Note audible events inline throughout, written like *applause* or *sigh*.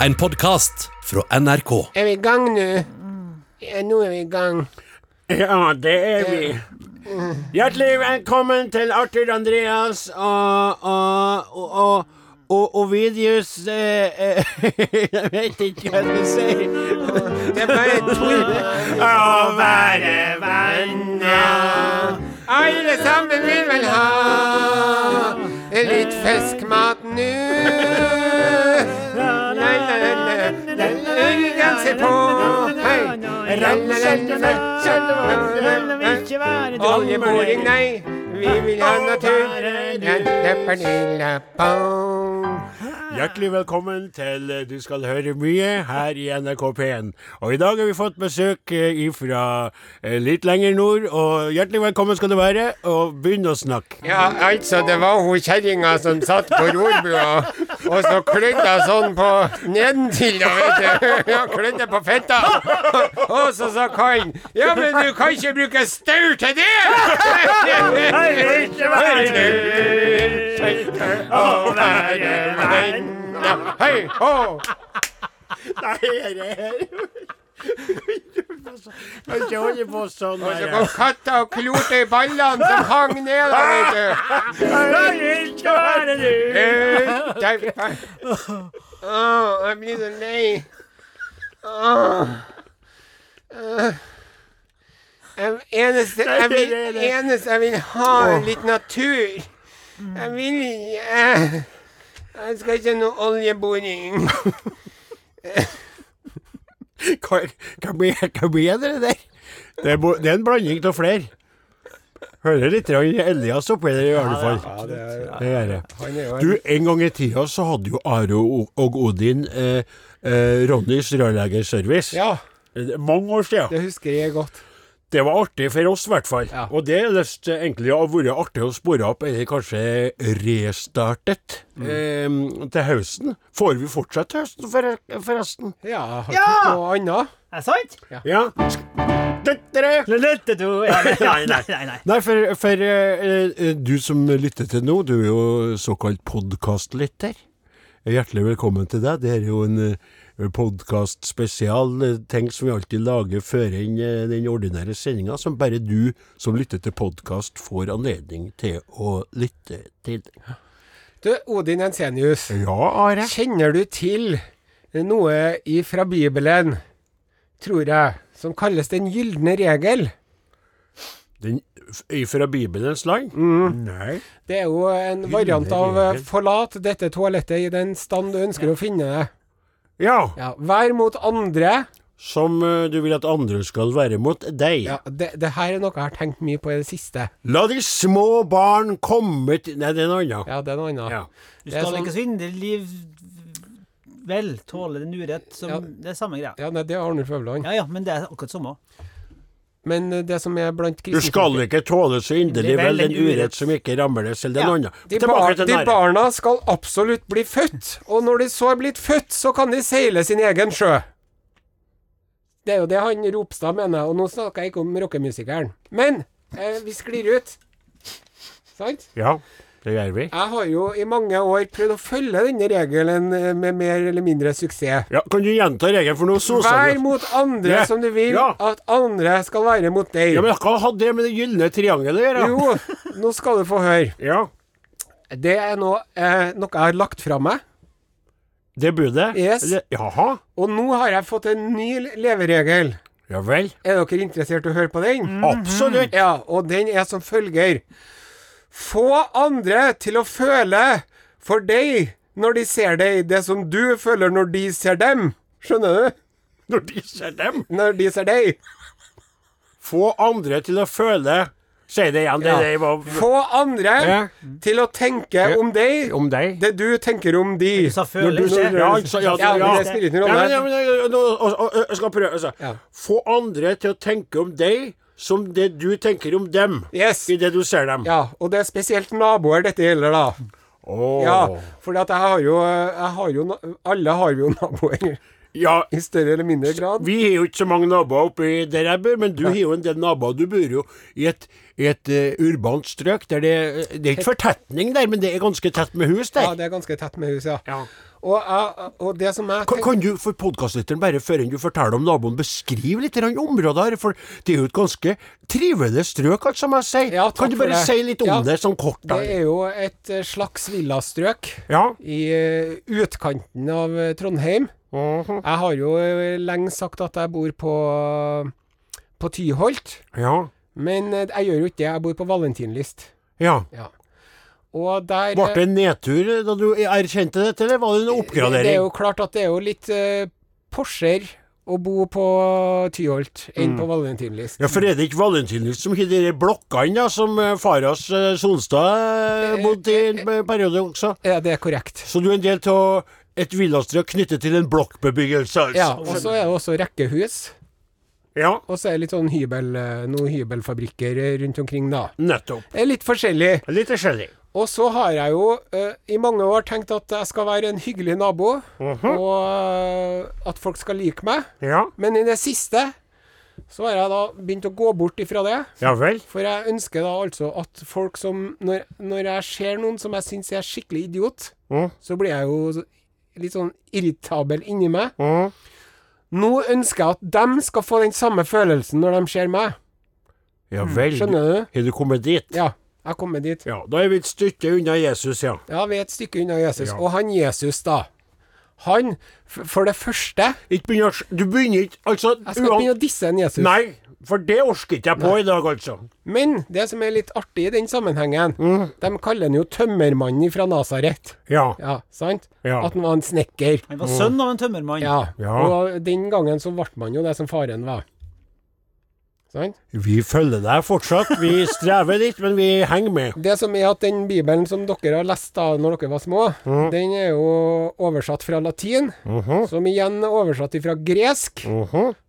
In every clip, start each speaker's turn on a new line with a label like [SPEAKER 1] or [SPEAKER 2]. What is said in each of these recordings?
[SPEAKER 1] En podkast fra NRK.
[SPEAKER 2] Er vi i gang nå? Ja, nå er vi i gang.
[SPEAKER 3] Ja, det er vi. Hjertelig velkommen til Arthur Andreas og og, og, og og Ovidius eh, eh, Jeg vet ikke hva jeg skal si.
[SPEAKER 2] Det er bare tull.
[SPEAKER 3] Å være venner
[SPEAKER 2] Alle sammen vil vel ha litt fiskmat nå. Ganske på. Hei. Oljeboring, nei. Vi vil ha natur. Pernilla-pong.
[SPEAKER 3] Hjertelig velkommen til eh, Du skal høre mye her i NRK P1. Og i dag har vi fått besøk fra litt lenger nord, og hjertelig velkommen skal du være. Og begynn å snakke.
[SPEAKER 2] Ja, altså, det var hun kjerringa som satt på rorbua, og så klødde hun sånn på nedentil, da, vet du. Ja, klødde på fetta. Og så sa Kain Ja, men du kan ikke bruke staur til det! Hei, hå!
[SPEAKER 3] Kan ikke holde på sånn.
[SPEAKER 2] Og så kom katta og klorte i ballene som hang ned, da, vet du. Øh, der- Åh, jeg blir så lei. Åh. Øh. Jeg, eneste, jeg vil, eneste jeg vil ha, er litt natur. Jeg vil ikke Jeg, jeg skal ikke ha noe oljeboring.
[SPEAKER 3] Hva, hva, blir, hva blir det der? Det er, bo, det er en blanding av flere. Hører litt grann Elias oppi der i alle fall. det er det. Du, en gang i tida så hadde jo Are og, og Odin eh, eh, Ronnys rørleggerservice.
[SPEAKER 2] Ja,
[SPEAKER 3] Eh, Mange år siden.
[SPEAKER 2] det husker jeg godt.
[SPEAKER 3] Det var artig for oss, i hvert fall.
[SPEAKER 2] Ja.
[SPEAKER 3] Og det har lyst til egentlig å vært artig å spore opp, eller kanskje restartet, eh, til høsten. Får vi fortsatt til høsten, forre- forresten?
[SPEAKER 2] Ja, har
[SPEAKER 4] Ja!
[SPEAKER 2] ikke noe annet.
[SPEAKER 4] Er det sant?
[SPEAKER 3] Ja. Lyttere!
[SPEAKER 4] Lytte du *laughs* ja, Nei, nei, nei. nei.
[SPEAKER 3] Nei, for, for eh, eh, du som lytter til nå, du er jo såkalt podkastlytter. Hjertelig velkommen til deg. Det er jo en eh, podkastspesial, eh, ting som vi alltid lager før inn eh, den ordinære sendinga, som bare du som lytter til podkast, får anledning til å lytte til.
[SPEAKER 2] Du, Odin Ensenius,
[SPEAKER 3] Ja, Are.
[SPEAKER 2] kjenner du til noe fra Bibelen, tror jeg, som kalles den gylne regel?
[SPEAKER 3] Den, f- fra Bibelens land? Nei.
[SPEAKER 2] Det er jo en variant av eh, 'forlat dette toalettet i den stand du ønsker å finne det'.
[SPEAKER 3] Ja,
[SPEAKER 2] Ja, Vær mot andre.
[SPEAKER 3] som eh, du vil at andre skal være mot deg.
[SPEAKER 2] Ja, det, det her er noe jeg har tenkt mye på i det siste.
[SPEAKER 3] La de små barn komme til Nei, det er noe annet.
[SPEAKER 2] Ja, det er noe annet.
[SPEAKER 3] Ja.
[SPEAKER 4] Du
[SPEAKER 2] Det er
[SPEAKER 4] skal
[SPEAKER 2] sånn-
[SPEAKER 4] ikke svindle liv vel, tåle den urett som
[SPEAKER 2] Ja.
[SPEAKER 4] Det er samme greia.
[SPEAKER 2] Ja, nei, det er Arnulf Øverland.
[SPEAKER 4] Ja ja, men det er akkurat samme.
[SPEAKER 2] Men eh, det som er blant
[SPEAKER 3] Du
[SPEAKER 2] kristne
[SPEAKER 3] skal ikke tåle så inderlig vel en urett som ikke rammer deg selv den
[SPEAKER 4] Ja,
[SPEAKER 3] andre.
[SPEAKER 2] de,
[SPEAKER 3] Tilbake
[SPEAKER 2] bar
[SPEAKER 3] til
[SPEAKER 2] de
[SPEAKER 3] den her.
[SPEAKER 2] barna skal absolutt bli født, og når de så er blitt født, så kan de seile sin egen sjø. Det er jo det han Ropstad mener, og nå snakker jeg ikke om rockemusikeren. Men eh, vi sklir ut. Sant?
[SPEAKER 3] Ja, det gjør vi.
[SPEAKER 2] Jeg har jo i mange år prøvd å følge denne regelen eh, med mer eller mindre suksess.
[SPEAKER 3] Ja, kan du gjenta regelen for noe
[SPEAKER 2] Vær
[SPEAKER 3] sosene?
[SPEAKER 2] mot andre
[SPEAKER 3] Ja.
[SPEAKER 2] som du vil
[SPEAKER 3] Ja.
[SPEAKER 2] at andre skal være mot deg.
[SPEAKER 3] Ja, men hva hadde det med det gylne triangelet å gjøre?
[SPEAKER 2] Jo, nå skal du få høre.
[SPEAKER 3] Ja,
[SPEAKER 2] Det er nå, eh, noe jeg har lagt fra meg.
[SPEAKER 3] det budet?
[SPEAKER 2] Yes.
[SPEAKER 3] Eller- Jaha.
[SPEAKER 2] Og nå har jeg fått en ny leveregel.
[SPEAKER 3] Ja vel.
[SPEAKER 2] Er dere interessert i å høre på den?
[SPEAKER 3] Absolutt.
[SPEAKER 2] Ja, og den er som følger. Få andre til å føle for deg når de ser deg, det som du føler når de ser dem. Skjønner du?
[SPEAKER 3] Når de ser dem.
[SPEAKER 2] Når de ser deg.
[SPEAKER 3] Få andre til å føle Si det igjen, det
[SPEAKER 2] Ja.
[SPEAKER 3] der var
[SPEAKER 2] Få andre
[SPEAKER 3] Ja.
[SPEAKER 2] til å tenke om deg,
[SPEAKER 3] om deg.
[SPEAKER 2] det du tenker om de.
[SPEAKER 4] Du sa
[SPEAKER 3] Når
[SPEAKER 4] føler
[SPEAKER 3] du ser Ja, altså, ja,
[SPEAKER 2] Ja, men
[SPEAKER 3] ja.
[SPEAKER 2] det spiller ingen
[SPEAKER 3] Ja,
[SPEAKER 2] rolle.
[SPEAKER 3] men, ja, men, ja, nå, og, og, og, jeg skal prøve. Altså.
[SPEAKER 2] Ja.
[SPEAKER 3] Få andre til å tenke om deg som det du tenker om dem,
[SPEAKER 2] Yes.
[SPEAKER 3] i det du ser dem.
[SPEAKER 2] Ja, og det er spesielt naboer dette gjelder, da.
[SPEAKER 3] Åh.
[SPEAKER 2] Ja, for at jeg har jo, jeg har jo na- Alle har jo *laughs* naboer,
[SPEAKER 3] Ja,
[SPEAKER 2] i større eller mindre grad.
[SPEAKER 3] Vi har jo ikke så mange naboer oppe i der jeg bor, men du har jo en del naboer. Du bor jo i et, i et eh, urbant eh, strøk der det Det er ikke fortetning der, men det er ganske tett med hus
[SPEAKER 2] Ja,
[SPEAKER 3] der.
[SPEAKER 2] det er ganske tett med hus, ja.
[SPEAKER 3] Ja.
[SPEAKER 2] Og, eh, og det som jeg
[SPEAKER 3] Kan, kan du for podkastlytteren bare før enn du forteller om naboen, beskrive litt grann området her? For det er jo et ganske trivelig strøk, alt som jeg sier.
[SPEAKER 2] Ja, takk
[SPEAKER 3] kan du
[SPEAKER 2] for
[SPEAKER 3] bare
[SPEAKER 2] det.
[SPEAKER 3] si litt om
[SPEAKER 2] Ja.
[SPEAKER 3] det, sånn kort?
[SPEAKER 2] Det
[SPEAKER 3] Der?
[SPEAKER 2] er jo et eh, slags villastrøk
[SPEAKER 3] Ja.
[SPEAKER 2] i eh, utkanten av eh, Trondheim.
[SPEAKER 3] Mhm.
[SPEAKER 2] Jeg har jo eh, lenge sagt at jeg bor på, på Tyholt,
[SPEAKER 3] ja.
[SPEAKER 2] men eh, jeg gjør jo ikke det. Jeg bor på Valentinlyst.
[SPEAKER 3] Ja.
[SPEAKER 2] Ja. Og der
[SPEAKER 3] Ble det en nedtur da du erkjente dette, eller var det
[SPEAKER 2] Det
[SPEAKER 3] en
[SPEAKER 2] er
[SPEAKER 3] oppgradering?
[SPEAKER 2] jo klart at det er jo litt eh, Porscher å bo på Tyholt enn på Valentinlyst.
[SPEAKER 3] Mm. Ja, for er det ikke Valentinus som har de der blokkene da, som eh, faras eh, Solstad eh, bodde i en eh, periode også?
[SPEAKER 2] Ja, det er korrekt.
[SPEAKER 3] Så du er en del av et villastrøk knyttet til en blokkbebyggelse, altså?
[SPEAKER 2] Ja, og så er det også rekkehus.
[SPEAKER 3] ja.
[SPEAKER 2] Og så er det litt sånn hybel, eh, noen hybelfabrikker eh, rundt omkring, da.
[SPEAKER 3] Nettopp.
[SPEAKER 2] Det er litt forskjellig.
[SPEAKER 3] Litt forskjellig.
[SPEAKER 2] Og så har jeg jo eh, i mange år tenkt at jeg skal være en hyggelig nabo,
[SPEAKER 3] Mhm.
[SPEAKER 2] og eh, at folk skal like meg.
[SPEAKER 3] Ja.
[SPEAKER 2] Men i det siste så har jeg da begynt å gå bort ifra det.
[SPEAKER 3] Ja vel.
[SPEAKER 2] For jeg ønsker da altså at folk som Når, når jeg ser noen som jeg syns er skikkelig idiot,
[SPEAKER 3] Mhm.
[SPEAKER 2] så blir jeg jo så- litt sånn irritabel inni meg.
[SPEAKER 3] Mhm.
[SPEAKER 2] Nå ønsker jeg at dem skal få den samme følelsen når de ser meg.
[SPEAKER 3] Ja vel.
[SPEAKER 2] Skjønner du?
[SPEAKER 3] Har du kommet dit?
[SPEAKER 2] Ja, jeg kommer dit.
[SPEAKER 3] Ja, da er vi et stykke unna Jesus, ja.
[SPEAKER 2] Ja, vi er et stykke unna Jesus.
[SPEAKER 3] Ja.
[SPEAKER 2] Og han Jesus, da. Han, f- for det første
[SPEAKER 3] Ikke begynner å s- Du begynner ikke Altså,
[SPEAKER 2] Jeg skal
[SPEAKER 3] uan-
[SPEAKER 2] begynne å disse en Jesus.
[SPEAKER 3] Nei, for det orker ikke jeg på i dag, altså.
[SPEAKER 2] Men det som er litt artig i den sammenhengen,
[SPEAKER 3] Mm.
[SPEAKER 2] de kaller han jo tømmermannen fra Nasaret.
[SPEAKER 3] Ja.
[SPEAKER 2] Ja, sant?
[SPEAKER 3] Ja.
[SPEAKER 2] At han var en snekker.
[SPEAKER 4] Han var sønn av en tømmermann.
[SPEAKER 2] Ja.
[SPEAKER 3] Ja.
[SPEAKER 2] Og den gangen så ble man jo det som faren var. Sant?
[SPEAKER 3] Vi følger deg fortsatt. Vi strever litt, men vi henger med.
[SPEAKER 2] Det som er at den bibelen som dere har lest da når dere var små, den er jo oversatt fra latin,
[SPEAKER 3] Mm-hmm.
[SPEAKER 2] som igjen er oversatt fra gresk,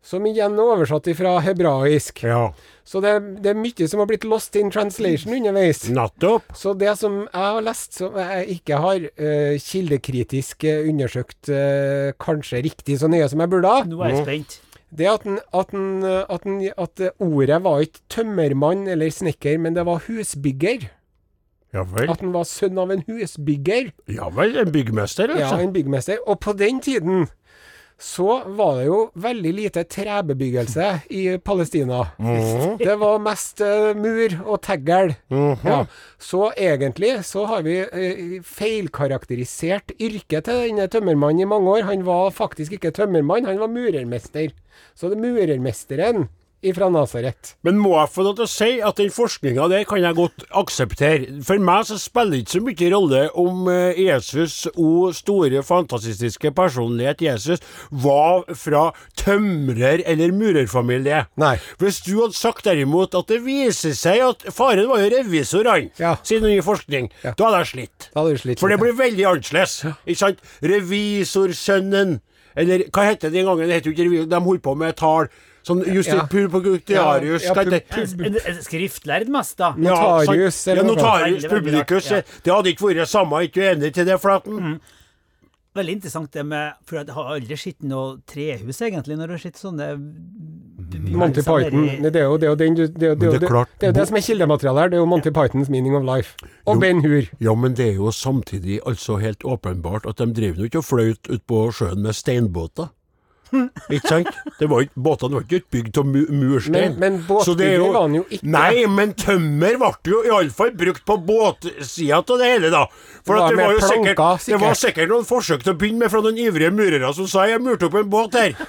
[SPEAKER 2] som igjen er oversatt fra hebraisk.
[SPEAKER 3] Ja.
[SPEAKER 2] Så det, det er mye som har blitt lost in translation underveis.
[SPEAKER 3] Nettopp.
[SPEAKER 2] Så det som jeg har lest, som jeg ikke har eh, kildekritisk eh, undersøkt eh, kanskje riktig så nøye som jeg burde ha,
[SPEAKER 4] Nå er jeg spent.
[SPEAKER 2] det er at, den, at, den, eh, at, den, at eh, ordet var ikke tømmermann eller snekker, men det var husbygger.
[SPEAKER 3] Ja vel.
[SPEAKER 2] At han var sønn av en husbygger,
[SPEAKER 3] Ja vel, en byggmester,
[SPEAKER 2] ja,
[SPEAKER 3] altså.
[SPEAKER 2] en byggmester. Og på den tiden så var det jo veldig lite trebebyggelse i Palestina.
[SPEAKER 3] Mhm.
[SPEAKER 2] Det var mest eh, mur og teggel.
[SPEAKER 3] Mhm.
[SPEAKER 2] Ja, så egentlig så har vi eh, feilkarakterisert yrket til denne tømmermannen i mange år. Han var faktisk ikke tømmermann, han var murermester. Så det er murermesteren ifra Nasaret.
[SPEAKER 3] Men må jeg få lov til å si at den forskninga der kan jeg godt akseptere. For meg så spiller det ikke så mye rolle om eh, Jesus og store, fantastiske personlighet Jesus var fra tømrer- eller murerfamilie.
[SPEAKER 2] Nei.
[SPEAKER 3] Hvis du hadde sagt derimot at det viser seg at faren var jo revisor, han,
[SPEAKER 2] Ja.
[SPEAKER 3] siden ny forskning, da hadde jeg slitt.
[SPEAKER 2] Da hadde du slitt
[SPEAKER 3] For det
[SPEAKER 2] litt,
[SPEAKER 3] blir veldig annerledes. Ikke sant? Revisorsønnen Eller hva heter det den gangen? Det heter jo ikke revisor, de holdt på med tall. Sånn Justin
[SPEAKER 2] Ja.
[SPEAKER 3] Pulpogutiarius
[SPEAKER 2] Ja, ja,
[SPEAKER 3] hva heter det?
[SPEAKER 4] En- en- en Skriftlærd mest, da.
[SPEAKER 3] Ja, sant.
[SPEAKER 2] Notarius, eller
[SPEAKER 3] Ja,
[SPEAKER 2] noe sånt.
[SPEAKER 3] notarius
[SPEAKER 4] Veldig, veldig rart,
[SPEAKER 3] publikus. eh,
[SPEAKER 4] ja.
[SPEAKER 3] Det hadde ikke vært samme, ikke du enig til det,
[SPEAKER 2] Mm.
[SPEAKER 3] Flaten?
[SPEAKER 4] Veldig interessant det med For jeg har aldri sett noe trehus, egentlig, når du har sett sånne
[SPEAKER 2] ja. Monty Python. Nei, Det er jo det, er jo den du- det, er jo- det, er jo
[SPEAKER 3] Men det er
[SPEAKER 2] det,
[SPEAKER 3] klart-
[SPEAKER 2] det, er jo det som er kildematerialet her. Det er jo Monty Pythons 'Meaning of Life'. Og Ben Hur.
[SPEAKER 3] Ja, men det er jo samtidig altså helt åpenbart at de drev jo ikke og fløyt utpå sjøen
[SPEAKER 2] *laughs*
[SPEAKER 3] med steinbåter. Ikke sant? Det var ikke, båtene var ikke utbygd av mu
[SPEAKER 2] Men-
[SPEAKER 3] murstein.
[SPEAKER 2] men
[SPEAKER 3] Så det er
[SPEAKER 2] båtbygger var han jo ikke.
[SPEAKER 3] Nei, men tømmer ble jo iallfall brukt på båtsida av det hele, da. For
[SPEAKER 2] Det var
[SPEAKER 3] at det, var
[SPEAKER 2] med
[SPEAKER 3] jo sikkert,
[SPEAKER 2] planker, sikkert.
[SPEAKER 3] det var sikkert noen forsøk til å begynne med fra noen ivrige murere som sa 'jeg murte opp en båt her'.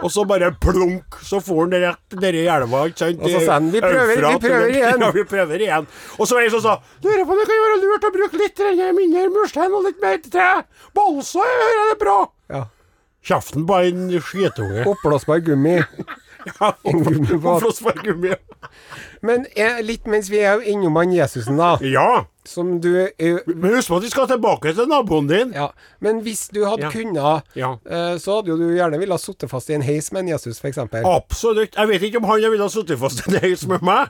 [SPEAKER 3] Og så bare plunk, så for han rett nedi elva. ikke sant?
[SPEAKER 2] Og så sa han, «Vi prøver, vi
[SPEAKER 3] Eufrat,
[SPEAKER 2] prøver
[SPEAKER 3] eller-
[SPEAKER 2] igjen».
[SPEAKER 3] *laughs* Ja, vi prøver igjen. Og så var det en som sa Lurer på om det kan være lurt å bruke litt mindre murstein og litt mer tre. Balsa hører jeg det er bra.
[SPEAKER 2] Ja.
[SPEAKER 3] Kjeften på en skytunge.
[SPEAKER 2] Oppblåsbar gummi. gummibåt.
[SPEAKER 3] Oppblåsbar gummi.
[SPEAKER 2] Men eh, litt mens vi er jo innom han Jesusen, da,
[SPEAKER 3] Ja.
[SPEAKER 2] som du eh,
[SPEAKER 3] Men husk på at vi skal tilbake til naboen din.
[SPEAKER 2] Ja, Men hvis du hadde
[SPEAKER 3] Ja.
[SPEAKER 2] kunnet,
[SPEAKER 3] Ja.
[SPEAKER 2] eh, så hadde jo du gjerne ville ha sittet fast i en heis med en Jesus, f.eks.
[SPEAKER 3] Absolutt. Jeg vet ikke om han ville ha sittet fast en heis med meg,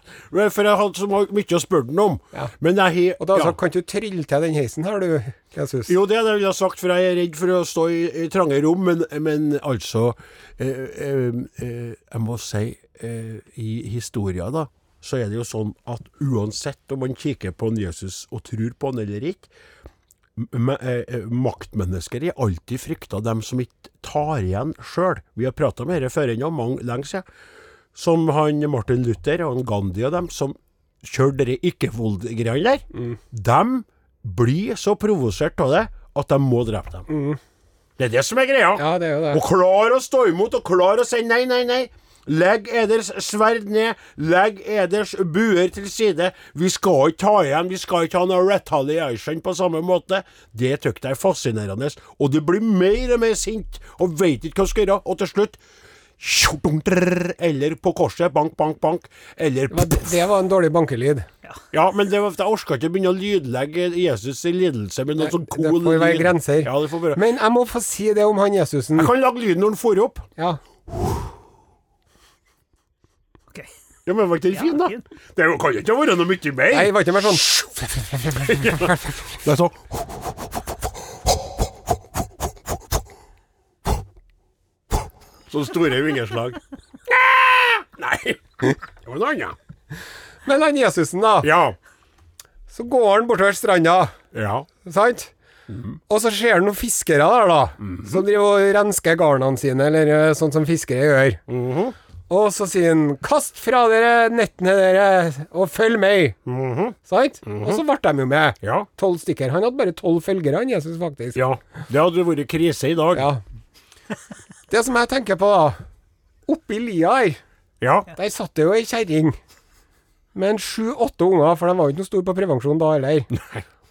[SPEAKER 3] for jeg hadde så mye å spørre ham om.
[SPEAKER 2] Ja.
[SPEAKER 3] Men jeg har
[SPEAKER 2] Og da
[SPEAKER 3] ja.
[SPEAKER 2] så kan du trylle til den heisen her, du, Jesus.
[SPEAKER 3] Jo, det er det jeg ville ha sagt, for jeg er redd for å stå i, i trange rom, men, men altså eh, eh, eh, Jeg må si, eh, i historia, da, så er det jo sånn at uansett om man kikker på en Jesus og tror på han eller ikke, me- eh, eh, maktmennesker er alltid frykta dem som ikke tar igjen sjøl. Vi har prata om dette før ennå, mange lenge siden. Som han Martin Luther og han Gandhi og dem som kjørte de ikke-vold-greiene der. Dem blir så provosert av det at de må drepe dem. Det er det som er greia.
[SPEAKER 2] Ja, det er jo
[SPEAKER 3] Og
[SPEAKER 2] det.
[SPEAKER 3] klar å stå imot, og klar å si nei, nei, nei. Legg eders sverd ned, legg eders buer til side. Vi skal ikke ta igjen, vi skal ikke ha noe retaliation på samme måte. Det tykker jeg er fascinerende, og du blir mer og mer sint, og veit ikke hva du skal gjøre. Og til slutt tjo, dunk, drrr, eller på korset, bank, bank, bank, eller
[SPEAKER 2] Men det- Det var en dårlig bankelyd.
[SPEAKER 3] Ja, men det var, jeg orka ikke begynne å lydlegge Jesus' i lidelse med noe
[SPEAKER 2] Det
[SPEAKER 3] sånn cool
[SPEAKER 2] får være
[SPEAKER 3] lyd.
[SPEAKER 2] grenser.
[SPEAKER 3] Ja, det får være.
[SPEAKER 2] Men jeg må få si det om han Jesusen.
[SPEAKER 3] Jeg kan lage lyden når han får opp.
[SPEAKER 2] Ja.
[SPEAKER 4] Ok.
[SPEAKER 3] Ja, men var ikke den fin, da?
[SPEAKER 4] fin.
[SPEAKER 3] Det er jo- kan jo ikke være noe mye mer.
[SPEAKER 2] Nei, det var ikke mer sånn
[SPEAKER 3] Det er sånn Sånne store vingeslag. Nei. Det var noe annet.
[SPEAKER 2] Men han Jesusen, da.
[SPEAKER 3] Ja.
[SPEAKER 2] Så går han bortover stranda,
[SPEAKER 3] Ja.
[SPEAKER 2] sant?
[SPEAKER 3] Mhm.
[SPEAKER 2] Og så ser han noen fiskere der, da. Som driver og rensker garnene sine, eller eh, sånn som fiskere gjør.
[SPEAKER 3] Mhm.
[SPEAKER 2] Og så sier han 'kast fra dere nettene dere, og følg meg'. Sant? Og så ble de jo med.
[SPEAKER 3] Mhm. Ja.
[SPEAKER 2] Tolv stykker. Han hadde bare tolv følgere, han Jesus, faktisk.
[SPEAKER 3] ja. Det hadde vært krise i dag.
[SPEAKER 2] Ja. Det som jeg tenker på, da. Oppi lia her,
[SPEAKER 3] Ja.
[SPEAKER 2] der satt det jo ei kjerring med en sju-åtte unger, for de var jo ikke noe store på prevensjon da heller.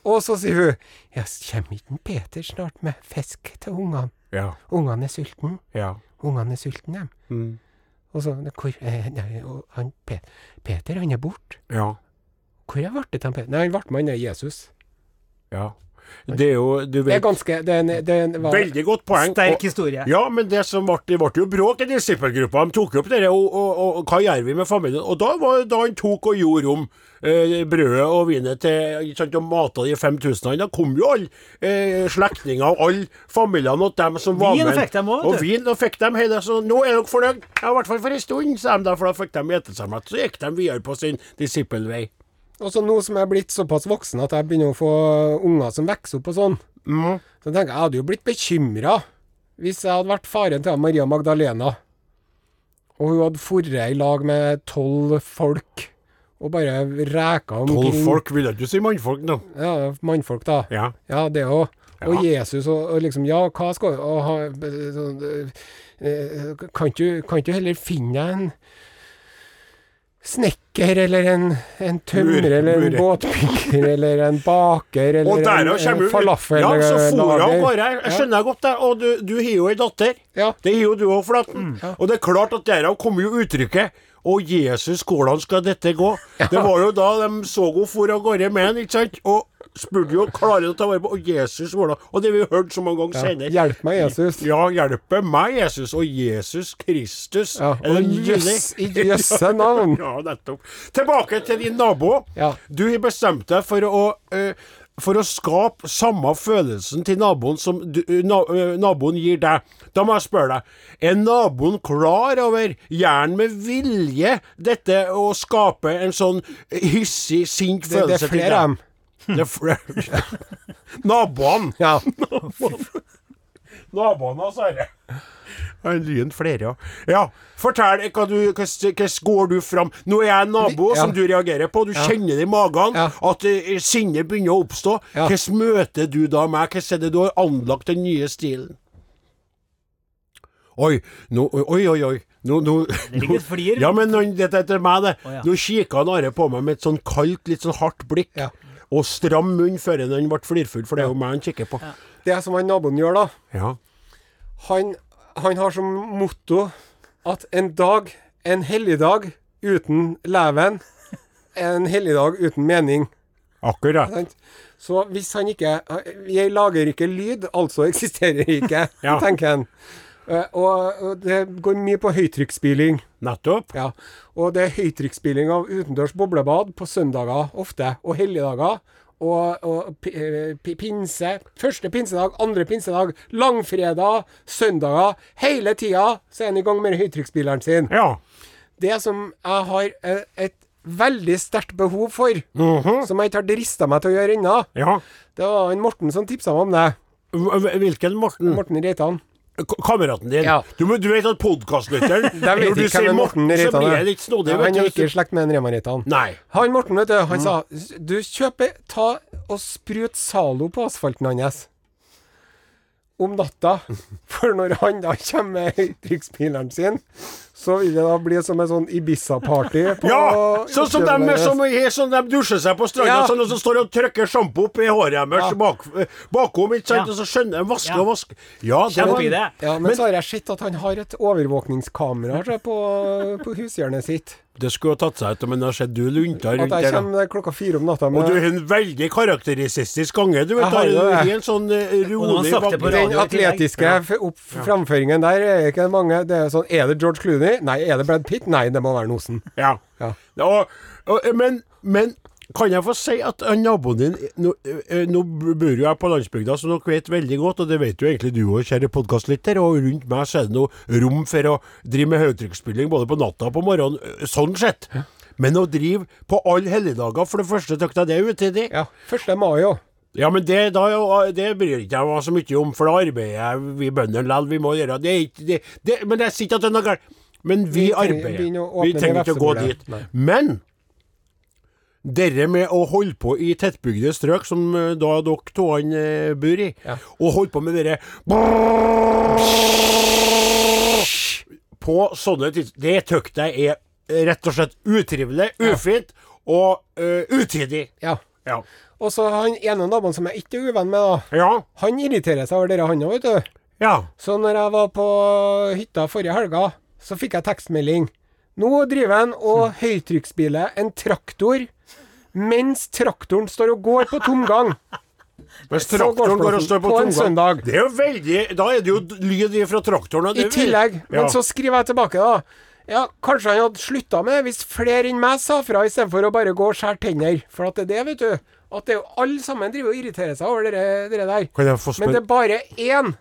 [SPEAKER 2] Og så sier hun Ja, kommer ikke en Peter snart med fisk til ungene?
[SPEAKER 3] Ja.
[SPEAKER 2] Ungene er sultne.
[SPEAKER 3] Ja.
[SPEAKER 2] Ungene er sultne, dem. Og så «Nei, hvor, eh, Nei, og han, Pe Peter, han er borte.
[SPEAKER 3] Ja.
[SPEAKER 2] Hvor er ble det til han Peter? Nei, han ble med han der Jesus.
[SPEAKER 3] ja. Det er jo Du
[SPEAKER 2] Det er
[SPEAKER 3] vet
[SPEAKER 2] ganske Det er en, det er en hva-
[SPEAKER 3] Veldig godt poeng.
[SPEAKER 4] Sterk
[SPEAKER 3] Og-
[SPEAKER 4] historie.
[SPEAKER 3] Ja, men det som ble, det ble jo bråk i disippelgruppa. De tok jo opp dette, og, og, og, hva gjør vi med familien? Og da var da han tok og gjorde om eh, brødet og vinet til ikke sant, og mata de 5000 Da kom jo alle eh, slektninger og alle familiene og dem som var
[SPEAKER 4] Vin
[SPEAKER 3] med.
[SPEAKER 4] fikk dem også, vet
[SPEAKER 3] og
[SPEAKER 4] du.
[SPEAKER 3] vin og fikk dem hele, så nå er dere fornøyd. Ja, i hvert fall for en stund, sa de da, for da fikk de ete seg mett. Så gikk de videre på sin disippelvei.
[SPEAKER 2] Og så nå som jeg er blitt såpass voksen at jeg begynner å få unger som vokser opp og sånn, så tenker jeg jeg hadde jo blitt bekymra hvis jeg hadde vært faren til Maria Magdalena, og hun hadde forret i lag med tolv folk og bare reka omkring.
[SPEAKER 3] Tolv folk ville ikke si mannfolk, da.
[SPEAKER 2] Ja, mannfolk, da.
[SPEAKER 3] Ja.
[SPEAKER 2] Ja, det òg. Og
[SPEAKER 3] Ja.
[SPEAKER 2] Jesus og, og liksom Ja, hva skal og, ha, sånn, eh, eh, Kan du, kan du heller finne deg en snekker eller en, en tømrer
[SPEAKER 3] Mur-
[SPEAKER 2] eller en
[SPEAKER 3] murer.
[SPEAKER 2] båtbygger eller en baker eller
[SPEAKER 3] Og der
[SPEAKER 2] en,
[SPEAKER 3] og kommer
[SPEAKER 2] en
[SPEAKER 3] hun-
[SPEAKER 2] falafel
[SPEAKER 3] Ja, så
[SPEAKER 2] eller
[SPEAKER 3] for hun av
[SPEAKER 2] lager.
[SPEAKER 3] gårde. Jeg skjønner godt det. Og du, du har jo ei datter.
[SPEAKER 2] Ja. Mm.
[SPEAKER 3] Det har jo du òg, Flaten. Og det er klart at derav kommer jo uttrykket Å, Jesus, hvordan skal dette gå? Det var jo da de så hun for av gårde med han, ikke sant? Og spurte jo klarer du å ta vare på Å, Jesus, hvordan Og det har vi jo hørt så mange ganger senere.
[SPEAKER 2] Hjelp meg, Jesus.
[SPEAKER 3] Ja, hjelpe meg, Jesus. Og Jesus Kristus.
[SPEAKER 2] Ja,
[SPEAKER 3] Er det
[SPEAKER 2] og
[SPEAKER 3] mulig?
[SPEAKER 2] jøss- i jøsse navn.
[SPEAKER 3] *laughs* ja, nettopp. Tilbake til din nabo.
[SPEAKER 2] Ja.
[SPEAKER 3] Du har bestemt deg for å eh, for å skape samme følelsen til naboen som du, na, eh, naboen gir deg. Da må jeg spørre deg, er naboen klar over, gjerne med vilje, dette å skape en sånn hissig, sint
[SPEAKER 2] Det, det
[SPEAKER 3] følelse
[SPEAKER 2] er flere av dem.
[SPEAKER 3] til deg? Det er flere.
[SPEAKER 2] *laughs*
[SPEAKER 3] *laughs* Naboene.
[SPEAKER 2] Ja.
[SPEAKER 3] Naboene hans, herre. Han lyden flere, ja. ja. Fortell hva du, hvordan hvordan går du fram. Nå er jeg en nabo
[SPEAKER 2] Ja.
[SPEAKER 3] som du reagerer på. Du kjenner det i magen
[SPEAKER 2] Ja.
[SPEAKER 3] at eh, sinnet begynner å oppstå.
[SPEAKER 2] Ja.
[SPEAKER 3] Hvordan møter du da meg? Hvordan er det du har anlagt den nye stilen? Oi, nå, oi, oi, oi. Nå, nå,
[SPEAKER 4] Det ligger et flir.
[SPEAKER 3] Ja, men nå- dette er til meg, det.
[SPEAKER 4] Å, ja.
[SPEAKER 3] Nå kikka han Are på meg med et sånn kaldt, litt sånn hardt blikk.
[SPEAKER 2] Ja.
[SPEAKER 3] Og stram munn før han ble flirfull, for det er jo meg han kikker på.
[SPEAKER 2] Det som han naboen gjør, da
[SPEAKER 3] Ja.
[SPEAKER 2] han, han har som motto at en dag, en helligdag uten leven, er en helligdag uten mening.
[SPEAKER 3] Akkurat.
[SPEAKER 2] Sant? Så hvis han ikke Jeg lager ikke lyd, altså eksisterer ikke,
[SPEAKER 3] Ja.
[SPEAKER 2] tenker han. Eh, Og, og det går mye på høytrykksspyling.
[SPEAKER 3] Nettopp.
[SPEAKER 2] Ja. Og det er høytrykksspyling av utendørs boblebad på søndager ofte, og helligdager. Og, og pi- eh, pi- pinse. Første pinsedag, andre pinsedag, langfredag, søndager. Hele tida så er han i gang med høytrykksspilleren sin.
[SPEAKER 3] Ja.
[SPEAKER 2] Det som jeg har eh, et veldig sterkt behov for,
[SPEAKER 3] Mhm.
[SPEAKER 2] som jeg ikke har drista meg til å gjøre ennå.
[SPEAKER 3] Ja.
[SPEAKER 2] Det var han Morten som tipsa meg om det.
[SPEAKER 3] Hv- hv- Hvilken Morten?
[SPEAKER 2] Morten Reitan.
[SPEAKER 3] K- Kameraten din.
[SPEAKER 2] Ja.
[SPEAKER 3] Du, må- du vet at
[SPEAKER 2] *laughs*
[SPEAKER 3] podkastlytteren
[SPEAKER 2] Jeg vet
[SPEAKER 3] Når du
[SPEAKER 2] ikke hvem
[SPEAKER 3] sier
[SPEAKER 2] en Morten
[SPEAKER 3] Morten, så
[SPEAKER 2] Reitan
[SPEAKER 3] blir
[SPEAKER 2] er.
[SPEAKER 3] jeg litt snodig.
[SPEAKER 2] Ja,
[SPEAKER 3] vet
[SPEAKER 2] han
[SPEAKER 3] du.
[SPEAKER 2] er ikke i slekt med en Rema Reitan.
[SPEAKER 3] Nei.
[SPEAKER 2] Han Morten, vet du, han sa "S- Du kjøper Ta og sprut Zalo på asfalten hans om
[SPEAKER 3] *laughs*
[SPEAKER 2] natta. For når han da kommer med høytrykksspilleren sin, så vil det da bli som en sånn Ibiza-party. på
[SPEAKER 3] Ja! Sånn som
[SPEAKER 2] kjøkkenet
[SPEAKER 3] de,
[SPEAKER 2] deres.
[SPEAKER 3] som er, sånn de dusjer seg på stranda
[SPEAKER 2] altså. Ja.
[SPEAKER 3] sånn, og så står de og trykker sjampo opp i håret deres
[SPEAKER 2] Ja.
[SPEAKER 3] bak, bakom, ikke sant?
[SPEAKER 4] Ja.
[SPEAKER 3] Og så skjønner de vaske
[SPEAKER 4] Ja.
[SPEAKER 3] og vaske. Ja, det var,
[SPEAKER 4] Kjempeidé.
[SPEAKER 2] Ja, men, så har jeg sett at han har et overvåkningskamera tror jeg, på, på hushjørnet sitt.
[SPEAKER 3] det skulle ha tatt seg ut, men jeg har sett du lunta
[SPEAKER 2] At
[SPEAKER 3] rundt
[SPEAKER 2] jeg
[SPEAKER 3] der. da.
[SPEAKER 2] kommer klokka fire om natta
[SPEAKER 3] Og
[SPEAKER 2] med
[SPEAKER 3] du har en veldig karakteristisk gange. Du
[SPEAKER 2] Jeg har
[SPEAKER 3] vet, har
[SPEAKER 2] jo
[SPEAKER 3] en
[SPEAKER 2] det.
[SPEAKER 3] helt sånn eh,
[SPEAKER 4] Og når han
[SPEAKER 3] rolig
[SPEAKER 4] sakte på
[SPEAKER 3] bakgrunn.
[SPEAKER 2] den
[SPEAKER 4] radio i tillegg.
[SPEAKER 2] atletiske
[SPEAKER 4] Ja.
[SPEAKER 2] f- opp, framføringen der er ikke mange Det er jo sånn Er det George Clooney? Nei. Er det Brad Pitt? Nei, det må være Nosen.
[SPEAKER 3] Ja.
[SPEAKER 2] Ja.
[SPEAKER 3] Og, og, men, men kan jeg få si at han naboen din Nå, eh, nå bor jo jeg på landsbygda, som dere vet veldig godt, og det vet jo egentlig du òg, kjære podkastlytter. Og rundt meg så er det noe rom for å drive med høytrykksspilling både på natta og på morgenen. eh, Sånn sett. Men å drive på alle helligdager, for det første tok jeg det er utidig.
[SPEAKER 2] Ja. 1. mai òg.
[SPEAKER 3] Ja, men det, da, det bryr ikke jeg meg så mye om, for da arbeider jeg, vi bøndene likevel. Vi må gjøre det, er ikke- det, det Men jeg sier ikke at det er noe galt. Men vi,
[SPEAKER 2] Vi trenger-
[SPEAKER 3] arbeider.
[SPEAKER 2] begynner å åpne
[SPEAKER 3] Vi trenger ikke å gå
[SPEAKER 2] vepsebordet.
[SPEAKER 3] dit.
[SPEAKER 2] Nei.
[SPEAKER 3] Men dere med å holde på i tettbygde strøk, som eh, da dere to han eh, bor i,
[SPEAKER 2] Ja.
[SPEAKER 3] og holde på med dere på sånne tids... Det tøkt jeg er rett og slett utrivelig, ufint og eh, utidig.
[SPEAKER 2] Ja.
[SPEAKER 3] Ja.
[SPEAKER 2] Og så han ene naboen som jeg ikke er uvenn med, da.
[SPEAKER 3] Ja.
[SPEAKER 2] Han irriterer seg over dere, han òg, vet du.
[SPEAKER 3] ja.
[SPEAKER 2] Så når jeg var på hytta forrige helga, så fikk jeg tekstmelding. Nå driver han
[SPEAKER 3] Hm.
[SPEAKER 2] og høytrykksbiler en traktor mens traktoren står og går på tomgang.
[SPEAKER 3] Hvis
[SPEAKER 2] Så går
[SPEAKER 3] traktoren går og
[SPEAKER 2] flotten
[SPEAKER 3] står på,
[SPEAKER 2] på en
[SPEAKER 3] tomgang-
[SPEAKER 2] søndag.
[SPEAKER 3] Det er jo veldig Da er det jo lyd ifra traktoren. og
[SPEAKER 2] I
[SPEAKER 3] det er vel-
[SPEAKER 2] tillegg. Men
[SPEAKER 3] Ja.
[SPEAKER 2] så skriver jeg tilbake, da. Ja, kanskje han hadde slutta med det hvis flere enn meg sa fra, istedenfor å bare gå og skjære tenner. For at det er det, vet du. At det er jo alle sammen driver og irriterer seg over det der.
[SPEAKER 3] Kan jeg få
[SPEAKER 2] Men det
[SPEAKER 3] spørre
[SPEAKER 2] er bare én.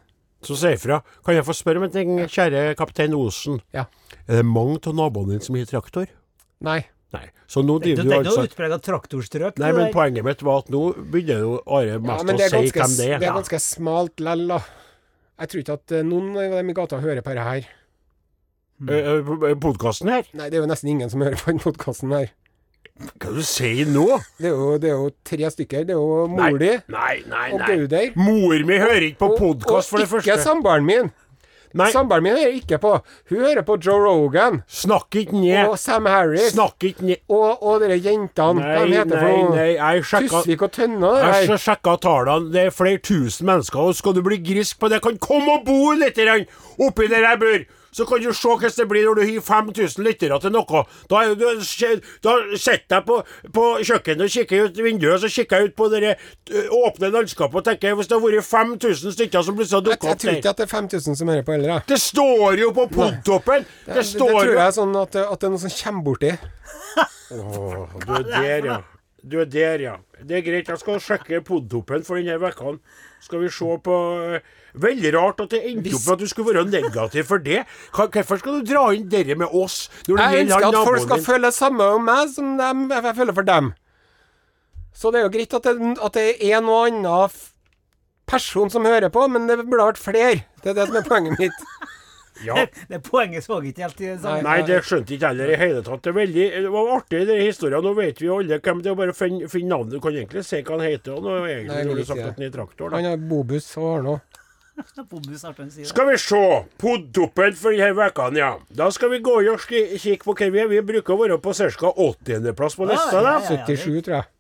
[SPEAKER 3] Så sier jeg fra. Kan jeg få spørre om en ting, kjære kaptein Osen?
[SPEAKER 2] Ja.
[SPEAKER 3] Er det mange av naboene dine som har traktor?
[SPEAKER 2] Nei.
[SPEAKER 3] Nei. Så nå
[SPEAKER 4] Du
[SPEAKER 3] driver du
[SPEAKER 4] tenkte jo
[SPEAKER 3] altså
[SPEAKER 4] utprega traktorstrøk.
[SPEAKER 3] Nei,
[SPEAKER 4] det
[SPEAKER 3] men
[SPEAKER 4] der.
[SPEAKER 3] poenget mitt var at nå begynner jo Are
[SPEAKER 2] Ja,
[SPEAKER 3] mest
[SPEAKER 2] men det
[SPEAKER 3] å
[SPEAKER 2] er
[SPEAKER 3] si
[SPEAKER 2] ganske,
[SPEAKER 3] hvem det er.
[SPEAKER 2] det er ganske smalt lell, da. Jeg tror ikke at eh, noen av dem i gata hører på det her.
[SPEAKER 3] Eh, Podkasten her?
[SPEAKER 2] Nei, det er jo nesten ingen som *laughs* hører på den podkasten her.
[SPEAKER 3] Hva er det du sier nå?
[SPEAKER 2] Det er, jo, det er jo tre stykker. Det er jo
[SPEAKER 3] Nei,
[SPEAKER 2] mor di
[SPEAKER 3] Nei, nei,
[SPEAKER 2] og
[SPEAKER 3] nei.
[SPEAKER 2] Gauder.
[SPEAKER 3] Mor mi hører ikke på
[SPEAKER 2] og-
[SPEAKER 3] podkast, for det
[SPEAKER 2] Og ikke
[SPEAKER 3] første.
[SPEAKER 2] samboeren min.
[SPEAKER 3] Nei,
[SPEAKER 2] Samboeren min hører ikke på. Hun hører på Joe Rogan
[SPEAKER 3] snakk ikke ned.
[SPEAKER 2] og Sam Harris
[SPEAKER 3] Snakk ikke ned.
[SPEAKER 2] og, og dere jentene. Hva
[SPEAKER 3] Nei,
[SPEAKER 2] de heter
[SPEAKER 3] nei,
[SPEAKER 2] for noe?
[SPEAKER 3] nei, jeg sjekka
[SPEAKER 2] Tusvik og Tønne? det
[SPEAKER 3] Jeg
[SPEAKER 2] her.
[SPEAKER 3] har sjekka tallene, det er flere tusen mennesker, og skal du bli grisk på det, kan komme og bo litt grann oppi der jeg bor! Så kan du se hvordan det blir når du har 5000 lyttere til noe. Da, er du, da sitter jeg på, på kjøkkenet og kikker ut vinduet, så kikker jeg ut på det der, ø, åpne landskapet og tenker hvis det har vært 5000 stykker som plutselig har
[SPEAKER 2] Jeg,
[SPEAKER 3] dukka
[SPEAKER 2] jeg
[SPEAKER 3] opp
[SPEAKER 2] tror
[SPEAKER 3] der
[SPEAKER 2] ikke at det er 5000 som hører på heller. jeg.
[SPEAKER 3] Det står jo på podtoppen! Det,
[SPEAKER 2] Det, det
[SPEAKER 3] står
[SPEAKER 2] tror
[SPEAKER 3] jo
[SPEAKER 2] jeg er sånn at, at det er noen som kommer borti.
[SPEAKER 3] Du er der, ja. Du er der, ja. Det er greit. Jeg skal sjekke podtoppen for denne uka. Skal vi se på eh, Veldig rart at det endte opp med at du skulle være negativ for det. Hva- Hvorfor skal du dra inn dere med oss når det
[SPEAKER 2] Jeg ønsker
[SPEAKER 3] gjelder
[SPEAKER 2] at folk
[SPEAKER 3] naboen
[SPEAKER 2] skal
[SPEAKER 3] din?
[SPEAKER 2] føle det samme om meg som dem, jeg jeg føler for dem. Så det er jo greit at det, at det er en og annen f- person som hører på, men det burde ha vært flere. Det er det som er poenget mitt.
[SPEAKER 3] Ja.
[SPEAKER 4] *laughs* Det poenget så jeg ikke helt i det samme.
[SPEAKER 3] Nei, det skjønte jeg ikke heller i hele tatt. Det, er veldig, det var artig, den historien. Nå vet vi jo alle hvem det er. Bare finn, finn navnet. Du kan egentlig si hva han heter. Og nå er
[SPEAKER 2] Nei,
[SPEAKER 3] egentlig
[SPEAKER 2] jeg
[SPEAKER 3] når
[SPEAKER 2] vil
[SPEAKER 3] du sagt
[SPEAKER 2] ikke
[SPEAKER 3] at han er traktor. Da.
[SPEAKER 2] Han har bobuss og har noe.
[SPEAKER 4] *laughs* Bobbus har vært en side.
[SPEAKER 3] Skal vi se. Podtoppen for denne uka, ja. Da skal vi gå inn og ski- kikke på hvem vi er. Vi bruker å være på ca. 80.-plass på lista, da.
[SPEAKER 4] ja, ja.
[SPEAKER 2] 77, tror jeg.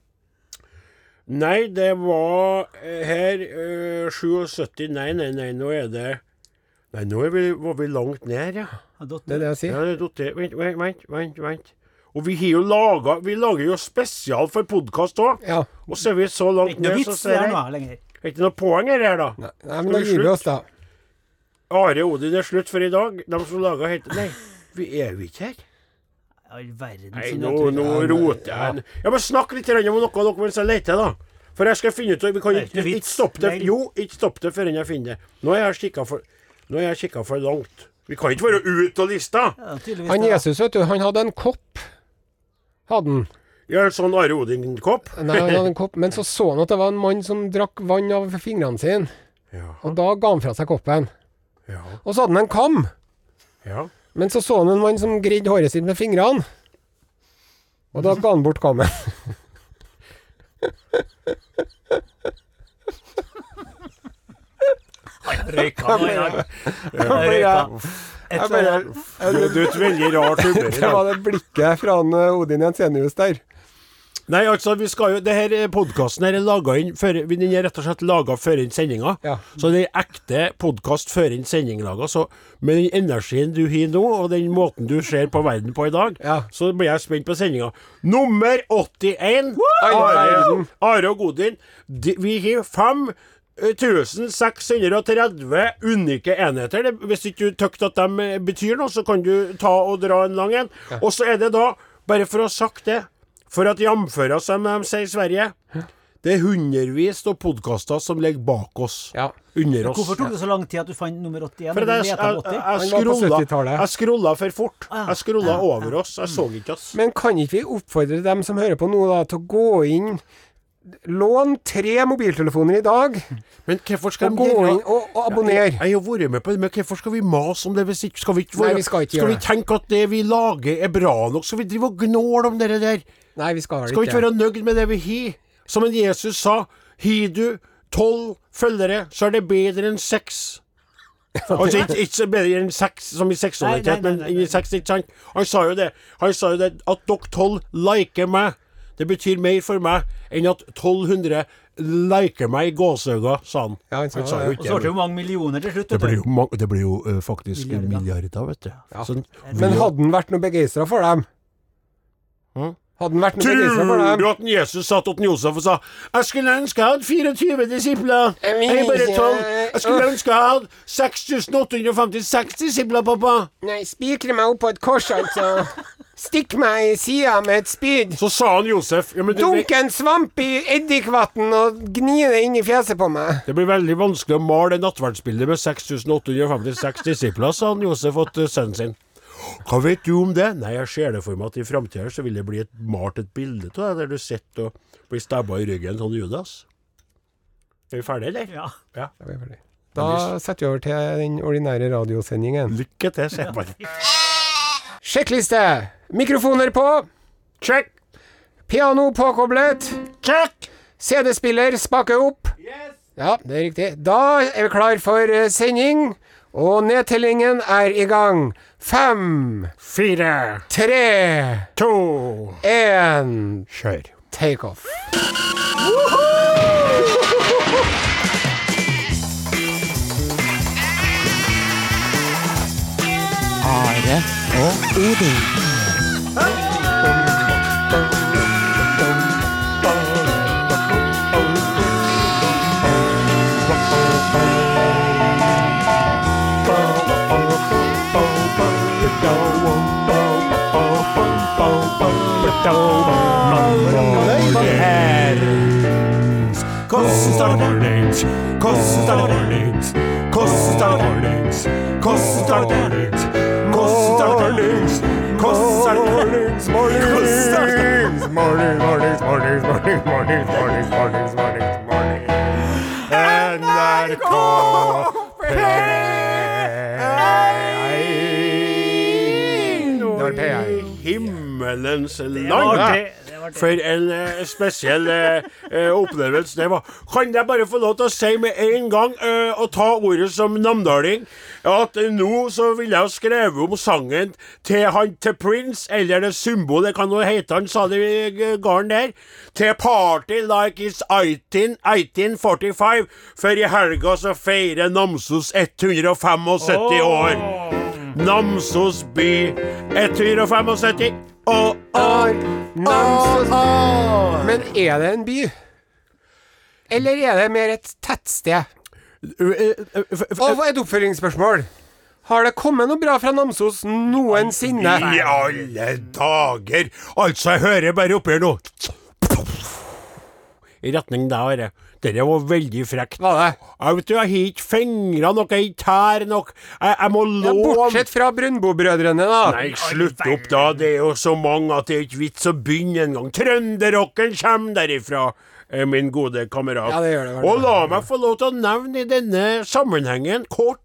[SPEAKER 3] Nei, det var eh, her eh, 77 Nei, nei, nei, nå er det Nei, nå er vi, var vi langt ned, ja.
[SPEAKER 4] Ja, dot-
[SPEAKER 2] Det er det jeg
[SPEAKER 3] ja
[SPEAKER 2] sier.
[SPEAKER 3] det er dotter. vent, vent, vent, vent, vent. Og vi har jo laga Vi lager jo spesial for podkast òg.
[SPEAKER 2] Ja.
[SPEAKER 3] Og så er vi så
[SPEAKER 4] Det er
[SPEAKER 3] langt
[SPEAKER 4] Ikke noe
[SPEAKER 3] ned, så
[SPEAKER 4] vits det
[SPEAKER 3] ser
[SPEAKER 4] her
[SPEAKER 3] jeg
[SPEAKER 4] nå lenger.
[SPEAKER 3] Er ikke noe poeng her, her, da.
[SPEAKER 2] Nei, men
[SPEAKER 3] Skal
[SPEAKER 2] da gir
[SPEAKER 3] vi
[SPEAKER 2] vi
[SPEAKER 3] slutte?
[SPEAKER 2] oss, da.
[SPEAKER 3] Are Odin er slutt for i dag. De som laga helt Nei, vi er jo ikke her.
[SPEAKER 4] All verden
[SPEAKER 3] Nei,
[SPEAKER 4] sin
[SPEAKER 3] nå,
[SPEAKER 4] natur.
[SPEAKER 3] nå roter jeg Ja, men Snakk litt grann om noe dere vil lete da. For jeg skal finne ut Vi kan
[SPEAKER 4] Det er
[SPEAKER 3] ikke,
[SPEAKER 4] ikke
[SPEAKER 3] ikke
[SPEAKER 4] vits.
[SPEAKER 3] stoppe det
[SPEAKER 4] Nei.
[SPEAKER 3] Jo, ikke stopp det før jeg finner det. Nå har jeg kikka for, nå har jeg kikket for langt. Vi kan ikke være ute av lista!
[SPEAKER 4] Ja, tydeligvis
[SPEAKER 2] Han
[SPEAKER 4] det, da.
[SPEAKER 2] Jesus, vet du, han hadde en kopp hadde han.
[SPEAKER 3] Ja, en sånn Are Odin-kopp.
[SPEAKER 2] Nei, han hadde en kopp, men så så han at det var en mann som drakk vann av fingrene sine.
[SPEAKER 3] Ja,
[SPEAKER 2] Og da ga han fra seg koppen.
[SPEAKER 3] ja,
[SPEAKER 2] Og så hadde han en kam.
[SPEAKER 3] ja.
[SPEAKER 2] Men så så han en mann som gridde håret sitt med fingrene. Og da ga han bort kammen.
[SPEAKER 4] Røyka nå, ja. Røyka. Et eller annet.
[SPEAKER 3] Du du er et veldig rart humør i
[SPEAKER 2] Det
[SPEAKER 3] dag.
[SPEAKER 2] var det blikket fra han, eh, Odin Jensenius der.
[SPEAKER 3] Nei, altså, vi skal jo Det her podkasten er laga inn før Den er rett og slett laga før inn sendinga.
[SPEAKER 2] Ja.
[SPEAKER 3] Så det er ekte podkast før inn sending laga. Så med den energien du har nå, og den måten du ser på verden på i dag,
[SPEAKER 2] Ja.
[SPEAKER 3] så blir jeg spent på sendinga. Nummer 81, Are,
[SPEAKER 2] verden.
[SPEAKER 3] Are og Godin. De, vi har eh, 5630 unike enheter. Det- Hvis ikke du tykker at de eh, betyr noe, så kan du ta og dra en lang en. Og så er det da, bare for å ha sagt det, for at jamføra, som de sier i Sverige Det er hundrevis av podkaster som ligger bak oss.
[SPEAKER 2] Ja.
[SPEAKER 3] Under oss.
[SPEAKER 4] Hvorfor tok det så lang tid at du fant nummer 81?
[SPEAKER 3] For
[SPEAKER 4] Du
[SPEAKER 3] jeg, jeg,
[SPEAKER 4] leter om 80?
[SPEAKER 3] jeg,
[SPEAKER 2] Han var på
[SPEAKER 3] scrolla-
[SPEAKER 2] 70-tallet.
[SPEAKER 3] jeg scrolla for fort.
[SPEAKER 4] Ah, ja.
[SPEAKER 3] Jeg scrolla over oss. Jeg så ikke oss.
[SPEAKER 2] Men kan ikke vi oppfordre dem som hører på nå, da, til å gå inn Lån tre mobiltelefoner i dag,
[SPEAKER 3] Men hvorfor skal
[SPEAKER 2] og gå inn og, og
[SPEAKER 3] Jeg
[SPEAKER 2] abonner.
[SPEAKER 3] har jo vært med på det, men hvorfor skal vi mase om det hvis ikke Skal vi ikke, være-
[SPEAKER 2] Nei, vi skal ikke gjøre
[SPEAKER 3] vi
[SPEAKER 2] det.
[SPEAKER 3] tenke at det vi lager er bra nok? Skal vi drive og gnåle om det der?
[SPEAKER 2] Nei, vi skal
[SPEAKER 3] Skal
[SPEAKER 2] vel
[SPEAKER 3] vi ikke
[SPEAKER 2] ikke
[SPEAKER 3] være nøyd med det vi har? Som en Jesus sa, har du tolv følgere, så er det bedre enn
[SPEAKER 2] *laughs*
[SPEAKER 3] seks. Altså ikke, ikke så bedre enn seks som i
[SPEAKER 4] Nei, nei,
[SPEAKER 3] seksualitet,
[SPEAKER 4] nei,
[SPEAKER 3] men
[SPEAKER 4] nei, nei.
[SPEAKER 3] i sex, ikke sant? Han sa jo det. Han sa jo det at dere tolv liker meg. Det betyr mer for meg enn at 1200 liker meg i gåseøyne, sa han.
[SPEAKER 2] Ja, han sa
[SPEAKER 3] jo
[SPEAKER 2] det.
[SPEAKER 4] Og så ble det jo mange millioner til slutt.
[SPEAKER 3] det
[SPEAKER 4] vet
[SPEAKER 3] blir
[SPEAKER 4] du.
[SPEAKER 3] jo, mang- det blir jo eh, faktisk
[SPEAKER 4] Milliarder.
[SPEAKER 3] milliarder, vet du. Sånn,
[SPEAKER 2] Men hadde han vært noe begeistra for dem?
[SPEAKER 3] Hm?
[SPEAKER 2] Hadde han vært noe begeistra for
[SPEAKER 3] Tror
[SPEAKER 2] dem?
[SPEAKER 3] du at Jesus satt til Josef og sa 'Jeg skulle ønske jeg hadde 24 disipler'. Jeg er bare 12. Jeg skulle ønske jeg hadde 6856 disipler, pappa.
[SPEAKER 2] Nei, spikre meg opp på et kors, altså. Stikk meg i sida med et spyd.
[SPEAKER 3] Så sa han Josef ja, men du,
[SPEAKER 2] Dunk en svamp i eddikvann og gni det inn i fjeset på meg.
[SPEAKER 3] Det blir veldig vanskelig å male det nattverdsbildet med 6856 disipler, sa han Josef til sønnen sin. Hva vet du om det? Nei, jeg ser det for meg at i framtida så vil det bli et, malt et bilde av deg der du sitter og blir stabba i ryggen sånn Judas. Er vi ferdige, eller?
[SPEAKER 4] Ja.
[SPEAKER 2] Da setter vi over til den ordinære radiosendingen.
[SPEAKER 3] Lykke til, sier jeg bare.
[SPEAKER 2] Sjekkliste! Mikrofoner på.
[SPEAKER 3] Check!
[SPEAKER 2] Piano påkoblet.
[SPEAKER 3] Check!
[SPEAKER 2] CD-spiller spaker opp. Ja, det er riktig. Da er vi klar for eh, sending, og nedtellingen er i gang. Fem,
[SPEAKER 3] Fire,
[SPEAKER 2] tre,
[SPEAKER 3] to
[SPEAKER 2] én
[SPEAKER 3] Kjør.
[SPEAKER 2] takeoff.
[SPEAKER 5] Are og Odin.
[SPEAKER 3] Himmelens
[SPEAKER 4] var
[SPEAKER 3] land!
[SPEAKER 4] det- det var det.
[SPEAKER 3] For en eh, spesiell eh, eh, opplevelse det var. Kan jeg bare få lov til å si med en gang, eh, og ta ordet som namdaling, at eh, nå så vil jeg ha skrevet om sangen til han til Prince, eller det symbolet, det kan jo hete han, sa det i eh, gården der, til Party Like It's 18, 1845, for i helga så feirer Namsos 175 år. Namsos by 175 år.
[SPEAKER 2] Namsos. Men er det en by? Eller er det mer et tettsted? Og hva er et oppfølgingsspørsmål? Har det kommet noe bra fra Namsos noensinne?
[SPEAKER 3] I alle dager! Altså, jeg hører bare oppi her nå I retning deg, Are. Dette var veldig frekt.
[SPEAKER 2] Hva da?
[SPEAKER 3] Jeg vet du, jeg har ikke fingre nok, jeg har ikke tær nok. Jeg, jeg må
[SPEAKER 2] Ja,
[SPEAKER 3] låne
[SPEAKER 2] bortsett fra Brøndbo-brødrene, da.
[SPEAKER 3] Nei, slutt opp, da. Det er jo så mange at det er ikke vits å begynne engang. Trønderrocken kommer derifra, eh, min gode kamerat.
[SPEAKER 2] Ja, det gjør det, vel.
[SPEAKER 3] Og la meg få lov til å nevne i denne sammenhengen kort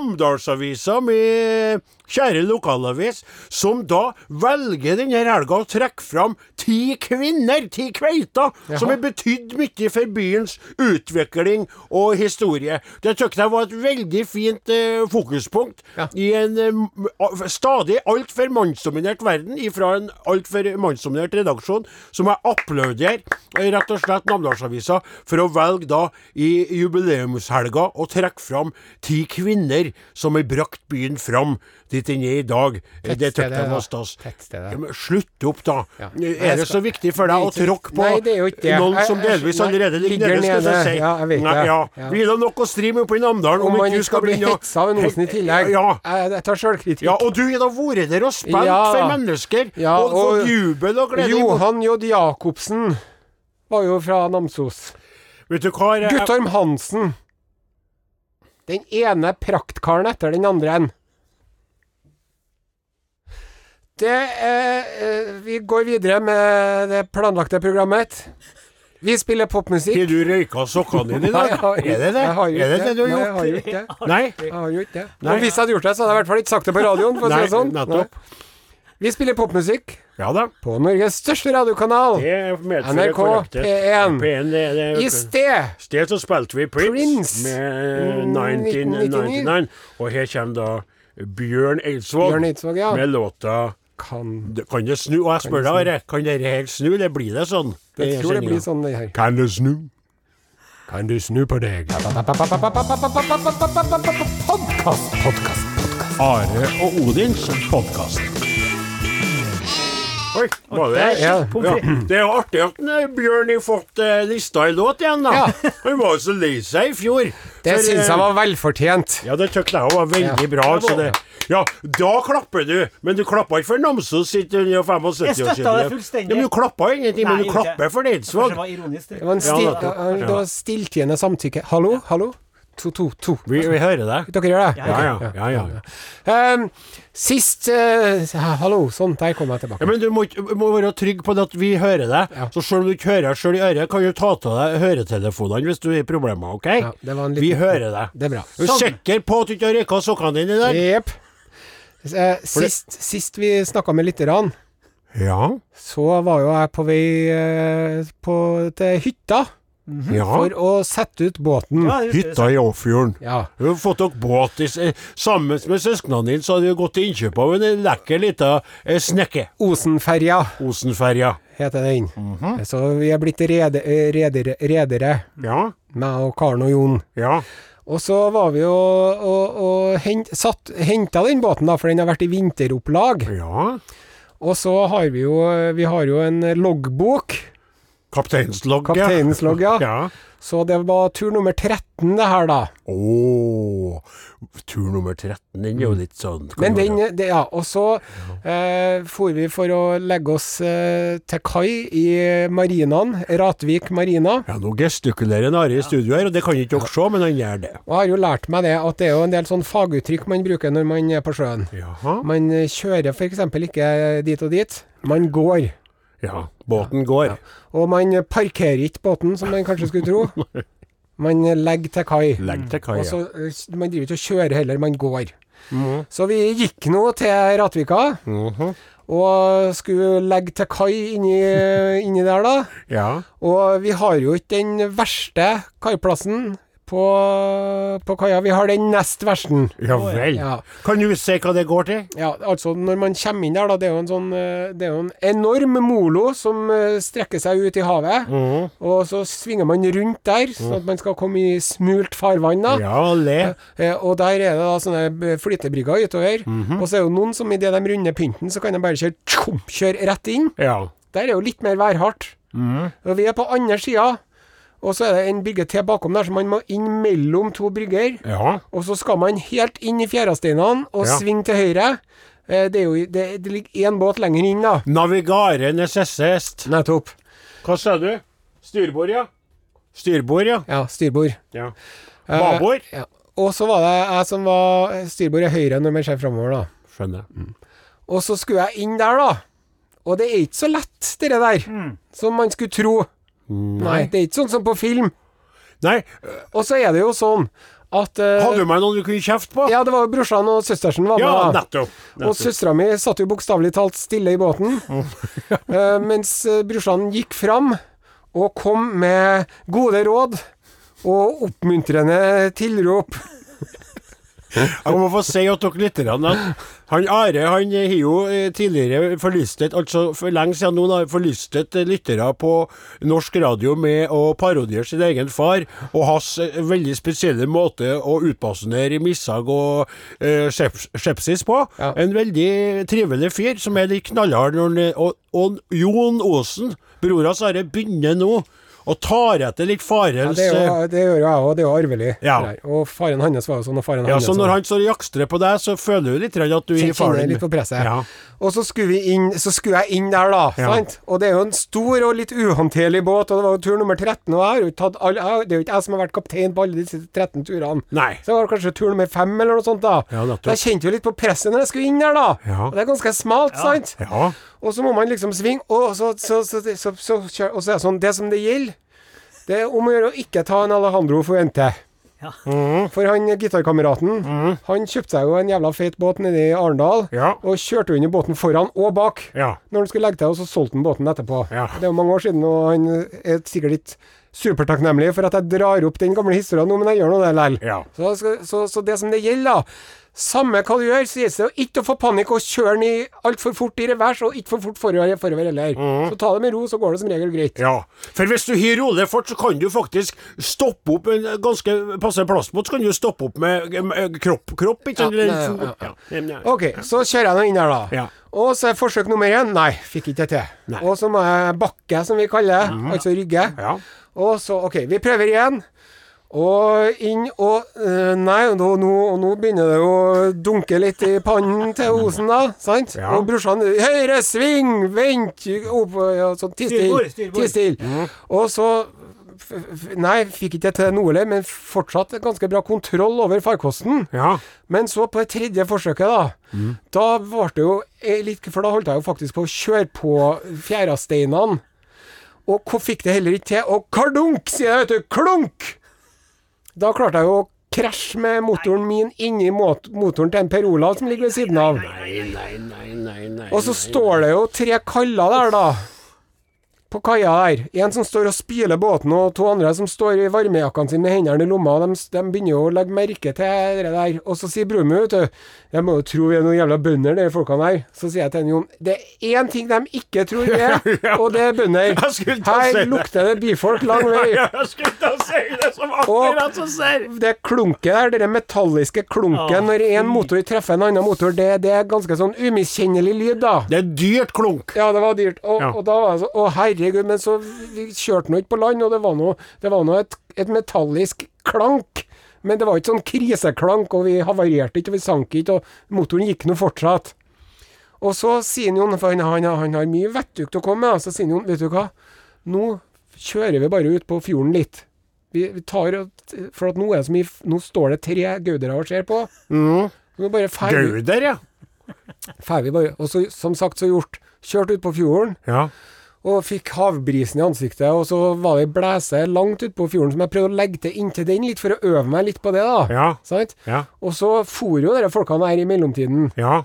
[SPEAKER 3] Namdalsavisa, min kjære lokalavis, som da velger denne helga å trekke fram ti kvinner, ti kveiter, som har betydd mye for byens utvikling og historie. Det syntes jeg var et veldig fint eh, fokuspunkt i en eh, m- a- stadig altfor mannsdominert verden, ifra en altfor mannsdominert redaksjon, som jeg applauderer eh, rett og slett Namdalsavisa for å velge da i jubileumshelga å trekke fram ti kvinner som har brakt byen fram dit den er i dag. Eh, Det
[SPEAKER 2] Tettstedet,
[SPEAKER 3] tykte jeg
[SPEAKER 2] da.
[SPEAKER 3] var stas.
[SPEAKER 2] Tettstedet.
[SPEAKER 3] Ja, men Slutt opp, da. Eh,
[SPEAKER 2] Ja.
[SPEAKER 3] Er det så viktig for deg å
[SPEAKER 2] Nei,
[SPEAKER 3] tråkke på
[SPEAKER 2] nei, det er jo ikke det.
[SPEAKER 3] noen som
[SPEAKER 2] Jeg- jeg-
[SPEAKER 3] delvis
[SPEAKER 2] nei,
[SPEAKER 3] allerede ligger
[SPEAKER 2] ligger
[SPEAKER 3] nede, skal
[SPEAKER 2] nede.
[SPEAKER 3] jeg si?
[SPEAKER 2] Ja, jeg vet
[SPEAKER 3] Nei,
[SPEAKER 2] det.
[SPEAKER 3] ja.
[SPEAKER 2] Ja.
[SPEAKER 3] Vi har nok å stri med oppe i Namdalen
[SPEAKER 2] Om
[SPEAKER 3] om
[SPEAKER 2] man
[SPEAKER 3] ikke du
[SPEAKER 2] skal
[SPEAKER 3] skal
[SPEAKER 2] bli
[SPEAKER 3] begynne å-
[SPEAKER 2] hetsa av noen i tillegg.
[SPEAKER 3] Ja.
[SPEAKER 2] Jeg, jeg tar sjølkritikk.
[SPEAKER 3] Ja, og du har da vært der og spilt
[SPEAKER 2] Ja.
[SPEAKER 3] for mennesker,
[SPEAKER 2] Ja, og-
[SPEAKER 3] og, fått jubel og glede. i bot-
[SPEAKER 2] Johan J. Jacobsen var jo fra Namsos.
[SPEAKER 3] Vet du hva, jeg, jeg,
[SPEAKER 2] Guttorm Hansen. Den ene praktkaren etter den andre. en. Det eh, eh, Vi går videre med det planlagte programmet. Vi spiller popmusikk.
[SPEAKER 3] har du røyka
[SPEAKER 2] *laughs*
[SPEAKER 3] sokkene dine i dag?
[SPEAKER 2] har
[SPEAKER 3] Er det det?
[SPEAKER 2] Jeg har jo
[SPEAKER 3] Er det
[SPEAKER 2] ikke
[SPEAKER 3] det du har
[SPEAKER 2] Nei, Jeg har jo
[SPEAKER 3] gjort?
[SPEAKER 2] ikke det.
[SPEAKER 3] Nei?
[SPEAKER 2] Jeg har jo ikke det.
[SPEAKER 3] Nei.
[SPEAKER 2] Og hvis jeg hadde gjort det, så hadde jeg i hvert fall ikke sagt det på radioen. For å
[SPEAKER 3] Nei,
[SPEAKER 2] si det sånn.
[SPEAKER 3] nettopp.
[SPEAKER 2] Nei. Vi spiller popmusikk
[SPEAKER 3] Ja da.
[SPEAKER 2] på Norges største radiokanal.
[SPEAKER 3] Det medfører
[SPEAKER 2] NRK
[SPEAKER 3] korrekthet.
[SPEAKER 2] P1.
[SPEAKER 3] P1 det, det,
[SPEAKER 2] I sted
[SPEAKER 3] sted så spilte vi Prince,
[SPEAKER 2] Prince.
[SPEAKER 3] med eh,
[SPEAKER 2] 1999.
[SPEAKER 3] 1999, og her kommer da Bjørn Eidsvåg
[SPEAKER 2] Bjørn Eidsvåg, ja.
[SPEAKER 3] med låta
[SPEAKER 2] Kan
[SPEAKER 3] Det- Kan det snu? Og jeg spør deg, Are, kan dere helt snu? Det blir det sånn?
[SPEAKER 2] Jeg tror det blir sånn, det her.
[SPEAKER 3] Kan det snu?
[SPEAKER 2] Kan du snu på deg?
[SPEAKER 3] Are og Odins podkast. Oi, var det
[SPEAKER 4] der,
[SPEAKER 3] ja.
[SPEAKER 4] pommes frites.
[SPEAKER 3] Det er jo artig at den, eh, Bjørn har fått eh, lista i låt igjen, da.
[SPEAKER 2] Ja.
[SPEAKER 3] Han var jo så lei seg i fjor.
[SPEAKER 2] Det
[SPEAKER 3] For,
[SPEAKER 2] syns
[SPEAKER 3] eh,
[SPEAKER 2] jeg var velfortjent.
[SPEAKER 3] Ja, det tøkte jeg òg var veldig
[SPEAKER 2] Ja.
[SPEAKER 3] bra. Altså det. Ja, da klapper du, men du klappa ikke for Namsos sitt eh, 175-årsjubileum.
[SPEAKER 4] Jeg støtta det fullstendig.
[SPEAKER 3] Ja, men du klappa ingenting, men
[SPEAKER 4] Nei,
[SPEAKER 3] du
[SPEAKER 4] ikke.
[SPEAKER 3] klapper for
[SPEAKER 4] Kanskje
[SPEAKER 3] Eidsvåg.
[SPEAKER 4] det var ironisk.
[SPEAKER 2] Det var en stil,
[SPEAKER 3] nettopp.
[SPEAKER 2] eh, det var stilltiende samtykke. Hallo, hallo? To, to, to.
[SPEAKER 3] Vi, vi hører deg.
[SPEAKER 2] Dere gjør det?
[SPEAKER 3] Ja, ja. ja, ja.
[SPEAKER 2] Ehm, sist eh, Hallo, sånn, der kom jeg
[SPEAKER 3] Ja,
[SPEAKER 2] tilbake.
[SPEAKER 3] men du må, ikke- må være trygg på det at vi hører deg.
[SPEAKER 2] Ja.
[SPEAKER 3] Så selv om du ikke hører deg sjøl i øret, kan du ta av deg høretelefonene hvis du har problemer, OK?
[SPEAKER 2] Ja, det var en liten-
[SPEAKER 3] Vi hører deg.
[SPEAKER 2] Det er bra.
[SPEAKER 3] Er du
[SPEAKER 4] Sånn.
[SPEAKER 3] sikker på at du ikke har røyka sokkene dine der?
[SPEAKER 2] Jepp. Eh, Sist, sist vi snakka med lytterne,
[SPEAKER 3] Ja.
[SPEAKER 2] så var jo jeg på vei eh, på, til hytta
[SPEAKER 3] ja.
[SPEAKER 2] for å sette ut båten.
[SPEAKER 4] Ja, det husker jeg.
[SPEAKER 3] Hytta i Åfjorden.
[SPEAKER 2] Ja.
[SPEAKER 3] Du har fått dere båt i, s- eh, sammen med søsknene dine, så hadde du gått til innkjøp av en lekker lita eh, snekke.
[SPEAKER 2] Osenferja
[SPEAKER 3] Osenferja.
[SPEAKER 2] heter den. Så vi er blitt rede- eh, redere, redere,
[SPEAKER 3] Ja,
[SPEAKER 2] meg og Karen og Jon.
[SPEAKER 3] ja.
[SPEAKER 2] Og så var vi jo og, og hent, satt, henta den båten, da, for den har vært i vinteropplag.
[SPEAKER 3] ja.
[SPEAKER 2] Og så har vi jo, vi har jo en loggbok.
[SPEAKER 3] Kapteinslogget.
[SPEAKER 2] Kapteinens logg, ja.
[SPEAKER 3] ja.
[SPEAKER 2] Så det var tur nummer 13, det her, da.
[SPEAKER 3] Ååå. Tur nummer 13, den er jo litt sånn kan
[SPEAKER 2] Mm. Men
[SPEAKER 3] være-
[SPEAKER 2] den, det, ja, og så eh, for vi for å legge oss eh, til kai i marinaen, Ratvik marina.
[SPEAKER 3] Ja, nå gestikulerer en Are i studio her, og det kan ikke dere se, men han gjør det.
[SPEAKER 2] Og jeg har jo lært meg det at det er jo en del sånn faguttrykk man bruker når man er på sjøen.
[SPEAKER 3] Jaha.
[SPEAKER 2] Man eh, kjører f.eks. ikke eh, dit og dit, man går.
[SPEAKER 3] Ja, båten går.
[SPEAKER 2] Og man eh, parkerer ikke båten, som man kanskje skulle tro. Man eh, legger til kai.
[SPEAKER 3] Legg til
[SPEAKER 2] Og
[SPEAKER 3] kaia.
[SPEAKER 2] så, Mm, eh, s- man driver ikke og kjører heller, man går. Så vi gikk nå til Ratvika, mhm. og skulle legge til kai inni, inni der, da.
[SPEAKER 3] Ja.
[SPEAKER 2] Og vi har jo ikke den verste kaiplassen på, på kaia, vi har den nest versten.
[SPEAKER 3] ja vel.
[SPEAKER 2] Ja.
[SPEAKER 3] Kan du se hva det går til?
[SPEAKER 2] Ja, altså når man kommer inn der, da, det er jo en sånn eh, Det er jo en enorm molo som eh, strekker seg ut i havet. Og så svinger man rundt der, sånn at man skal komme i smult farvann, da.
[SPEAKER 3] Ja, le.
[SPEAKER 2] Eh, Og der er det da sånne b- flytebrygger utover. Og så er det jo noen som idet de runder pynten, så kan de bare kjøre, tjom, kjøre rett inn.
[SPEAKER 3] Ja.
[SPEAKER 2] Der er jo litt mer værhardt. Og vi er på andre sida, og så er det en brygge til bakom der, så man må inn mellom to brygger.
[SPEAKER 3] Ja.
[SPEAKER 2] Og så skal man helt inn i fjæresteinene og
[SPEAKER 3] Ja.
[SPEAKER 2] svinge til høyre. Eh, Det, er jo, det, det ligger én båt lenger inn, da.
[SPEAKER 3] Navigare necessest.
[SPEAKER 2] Nettopp.
[SPEAKER 3] Hva sa du? Styrbord, ja? Styrbord, ja.
[SPEAKER 2] Ja, styrbord.
[SPEAKER 3] ja.
[SPEAKER 2] Eh,
[SPEAKER 3] Babord.
[SPEAKER 2] Ja. Og så var det jeg som var eh, Styrbord er høyre når man ser framover, da.
[SPEAKER 3] Skjønner.
[SPEAKER 2] mm. Og så skulle jeg inn der, da. Og det er ikke så lett, det der,
[SPEAKER 3] Mm.
[SPEAKER 2] som man skulle tro. Nei, det er ikke sånn som på film.
[SPEAKER 3] Nei,
[SPEAKER 2] Og så er det jo sånn at eh,
[SPEAKER 3] hadde du meg noen du kunne kjefte på?
[SPEAKER 2] Ja, det var jo brorsan og søstersen var med.
[SPEAKER 3] Ja,
[SPEAKER 2] da.
[SPEAKER 3] nettopp.
[SPEAKER 2] Og
[SPEAKER 3] nettopp.
[SPEAKER 2] søstera mi satt jo bokstavelig talt stille i båten,
[SPEAKER 3] *laughs*
[SPEAKER 2] eh, mens eh, brorsan gikk fram og kom med gode råd og oppmuntrende tilrop.
[SPEAKER 3] Jeg må få si at dere litt grann at han Are han har jo eh, tidligere forlystet, altså for lenge siden nå, da, forlystet eh, lyttere på norsk radio med å parodiere sin egen far og hans eh, veldig spesielle måte å utbasunere mishag og eh, skeps- skepsis på.
[SPEAKER 2] Ja.
[SPEAKER 3] En veldig trivelig fyr som er litt knallhard når han er- og, og Jon Osen, bror hans Are, begynner nå å tar etter litt
[SPEAKER 2] Ja,
[SPEAKER 3] farens
[SPEAKER 2] det, er
[SPEAKER 3] eh,
[SPEAKER 2] jo, det gjør jo jeg òg, det er jo arvelig.
[SPEAKER 3] Ja.
[SPEAKER 2] det der. Og faren hans var jo sånn, og faren
[SPEAKER 3] ja,
[SPEAKER 2] hans
[SPEAKER 3] så
[SPEAKER 2] var-
[SPEAKER 3] når han står og jakstrer på deg, så føler du litt grann at du
[SPEAKER 2] Jeg
[SPEAKER 3] gir faren
[SPEAKER 2] kjenner litt på presset.
[SPEAKER 3] Ja.
[SPEAKER 2] Og så skulle, vi inn, så skulle jeg inn der, da.
[SPEAKER 3] Ja.
[SPEAKER 2] Sant? Og det er jo en stor og litt uhåndterlig båt, og det var jo tur nummer 13. Og jeg har jo ikke tatt alle, jeg, det er jo ikke jeg som har vært kaptein på alle disse 13 turene.
[SPEAKER 3] Nei.
[SPEAKER 2] Så det var kanskje tur nummer fem, eller noe sånt. da
[SPEAKER 3] Ja, nettopp.
[SPEAKER 2] Men Jeg kjente jo litt på presset når jeg skulle inn der, da.
[SPEAKER 3] Ja.
[SPEAKER 2] Og det er ganske smalt, sant?
[SPEAKER 3] Ja.
[SPEAKER 2] Og så må man liksom svinge, og så, så, så, så, så, så, kjø- og så er det sånn Det som det gjelder, det er om å gjøre å ikke ta en Alejandro Fuente.
[SPEAKER 4] Ja.
[SPEAKER 2] For han gitarkameraten, han kjøpte seg jo en jævla feit båt nede i Arendal,
[SPEAKER 3] Ja.
[SPEAKER 2] og kjørte under båten foran og bak.
[SPEAKER 3] Ja.
[SPEAKER 2] Når han skulle legge til, og så solgte han båten etterpå.
[SPEAKER 3] Ja.
[SPEAKER 2] Det er jo mange år siden, og han er sikkert ikke supertakknemlig for at jeg drar opp den gamle historien nå, men jeg gjør nå det likevel.
[SPEAKER 3] Ja.
[SPEAKER 2] Så, skal- så, så det som det gjelder, da Samme hva du gjør, så gjelder det å ikke få panikk og kjøre den i altfor fort i revers, og ikke for fort forover forover heller.
[SPEAKER 3] Mhm.
[SPEAKER 2] Så ta det med ro, så går det som regel greit.
[SPEAKER 3] ja. For hvis du hyr rolig fort, så kan du faktisk stoppe opp en ganske passe plastbåt, så kan du stoppe opp med med kropp, kropp ikke sant?
[SPEAKER 2] Ja,
[SPEAKER 3] Eller
[SPEAKER 2] ja,
[SPEAKER 3] fot. Ja.
[SPEAKER 2] Ok, så kjører jeg nå inn der, da.
[SPEAKER 3] Ja.
[SPEAKER 2] Og så er forsøk nummer én. Nei, fikk ikke det til.
[SPEAKER 3] Nei. Mhm.
[SPEAKER 2] Og så må jeg bakke, som vi kaller det. Altså rygge.
[SPEAKER 3] Ja.
[SPEAKER 2] Og så, OK, vi prøver igjen. Og inn og øh, Nei, og nå, nå, og nå begynner det å dunke litt i pannen til Osen, da. Sant?
[SPEAKER 3] Ja.
[SPEAKER 2] Og brorsan Høyre sving! Vent! Opp, ja, sånn, ti stille!
[SPEAKER 4] Styrbord, styrbord.
[SPEAKER 2] Ti
[SPEAKER 3] Mhm.
[SPEAKER 2] stille! Og så f f Nei, fikk ikke det til noe, heller, men fortsatt ganske bra kontroll over farkosten.
[SPEAKER 3] Ja.
[SPEAKER 2] Men så på det tredje forsøket, da. Da ble det jo eh, litt For da holdt jeg jo faktisk på å kjøre på fjærasteinene. Og ko- fikk det heller ikke til. Og kardunk, sier jeg, vet du. Klunk! Da klarte jeg jo å krasje med motoren min inni mot motoren til en Per Olav som ligger ved siden av. Og så står det jo tre kaller der, da. På kaia der. En som står og spyler båten, og to andre som står i varmejakkene sine med hendene i lomma. De, de begynner jo å legge merke til det der. Og så sier broren min, vet du Jeg må jo tro vi er noen jævla bønder, de folkene her. Så sier jeg til han, Jon Det er én ting de ikke tror vi
[SPEAKER 3] *laughs*
[SPEAKER 2] er, og det er bønder.
[SPEAKER 3] Jeg skulle ta
[SPEAKER 2] Her
[SPEAKER 3] si det.
[SPEAKER 2] lukter det byfolk lang
[SPEAKER 3] *laughs*
[SPEAKER 2] vei.
[SPEAKER 3] Jeg skulle ta og si det som
[SPEAKER 2] Og-
[SPEAKER 3] akkurat som ser.
[SPEAKER 2] Det klunket der, det der metalliske klunket
[SPEAKER 4] Å,
[SPEAKER 2] når en motor treffer en annen motor, det, det er ganske sånn umiskjennelig lyd, da.
[SPEAKER 3] Det er dyrt klunk.
[SPEAKER 2] Ja, det var dyrt. Og,
[SPEAKER 3] Ja.
[SPEAKER 2] og da var jeg så Å, herregud. Men så vi kjørte nå ikke på land, og det var nå det var nå et, et metallisk klank. Men det var ikke sånn kriseklank, og vi havarerte ikke, og vi sank ikke, og motoren gikk nå fortsatt. Og så sier han Jon, for han, han, han har mye vettug å komme med, så sier han Jon, vet du hva, nå kjører vi bare ut på fjorden litt. Vi, vi tar og For at nå er det så mye f- Nå står det tre gaudere og ser på.
[SPEAKER 3] Mm.
[SPEAKER 2] Nå bare fer vi-
[SPEAKER 3] Gauder, ja.
[SPEAKER 2] fer vi bare. Og så, som sagt, så gjort. Kjørt ut på fjorden
[SPEAKER 3] ja.
[SPEAKER 2] og fikk havbrisen i ansiktet, og så var det ei blæse langt utpå fjorden som jeg prøvde å legge til inntil den litt, for å øve meg litt på det, da.
[SPEAKER 3] Ja.
[SPEAKER 2] Sant?
[SPEAKER 3] Ja.
[SPEAKER 2] Og så for jo dere folkene her i mellomtiden.
[SPEAKER 3] Ja.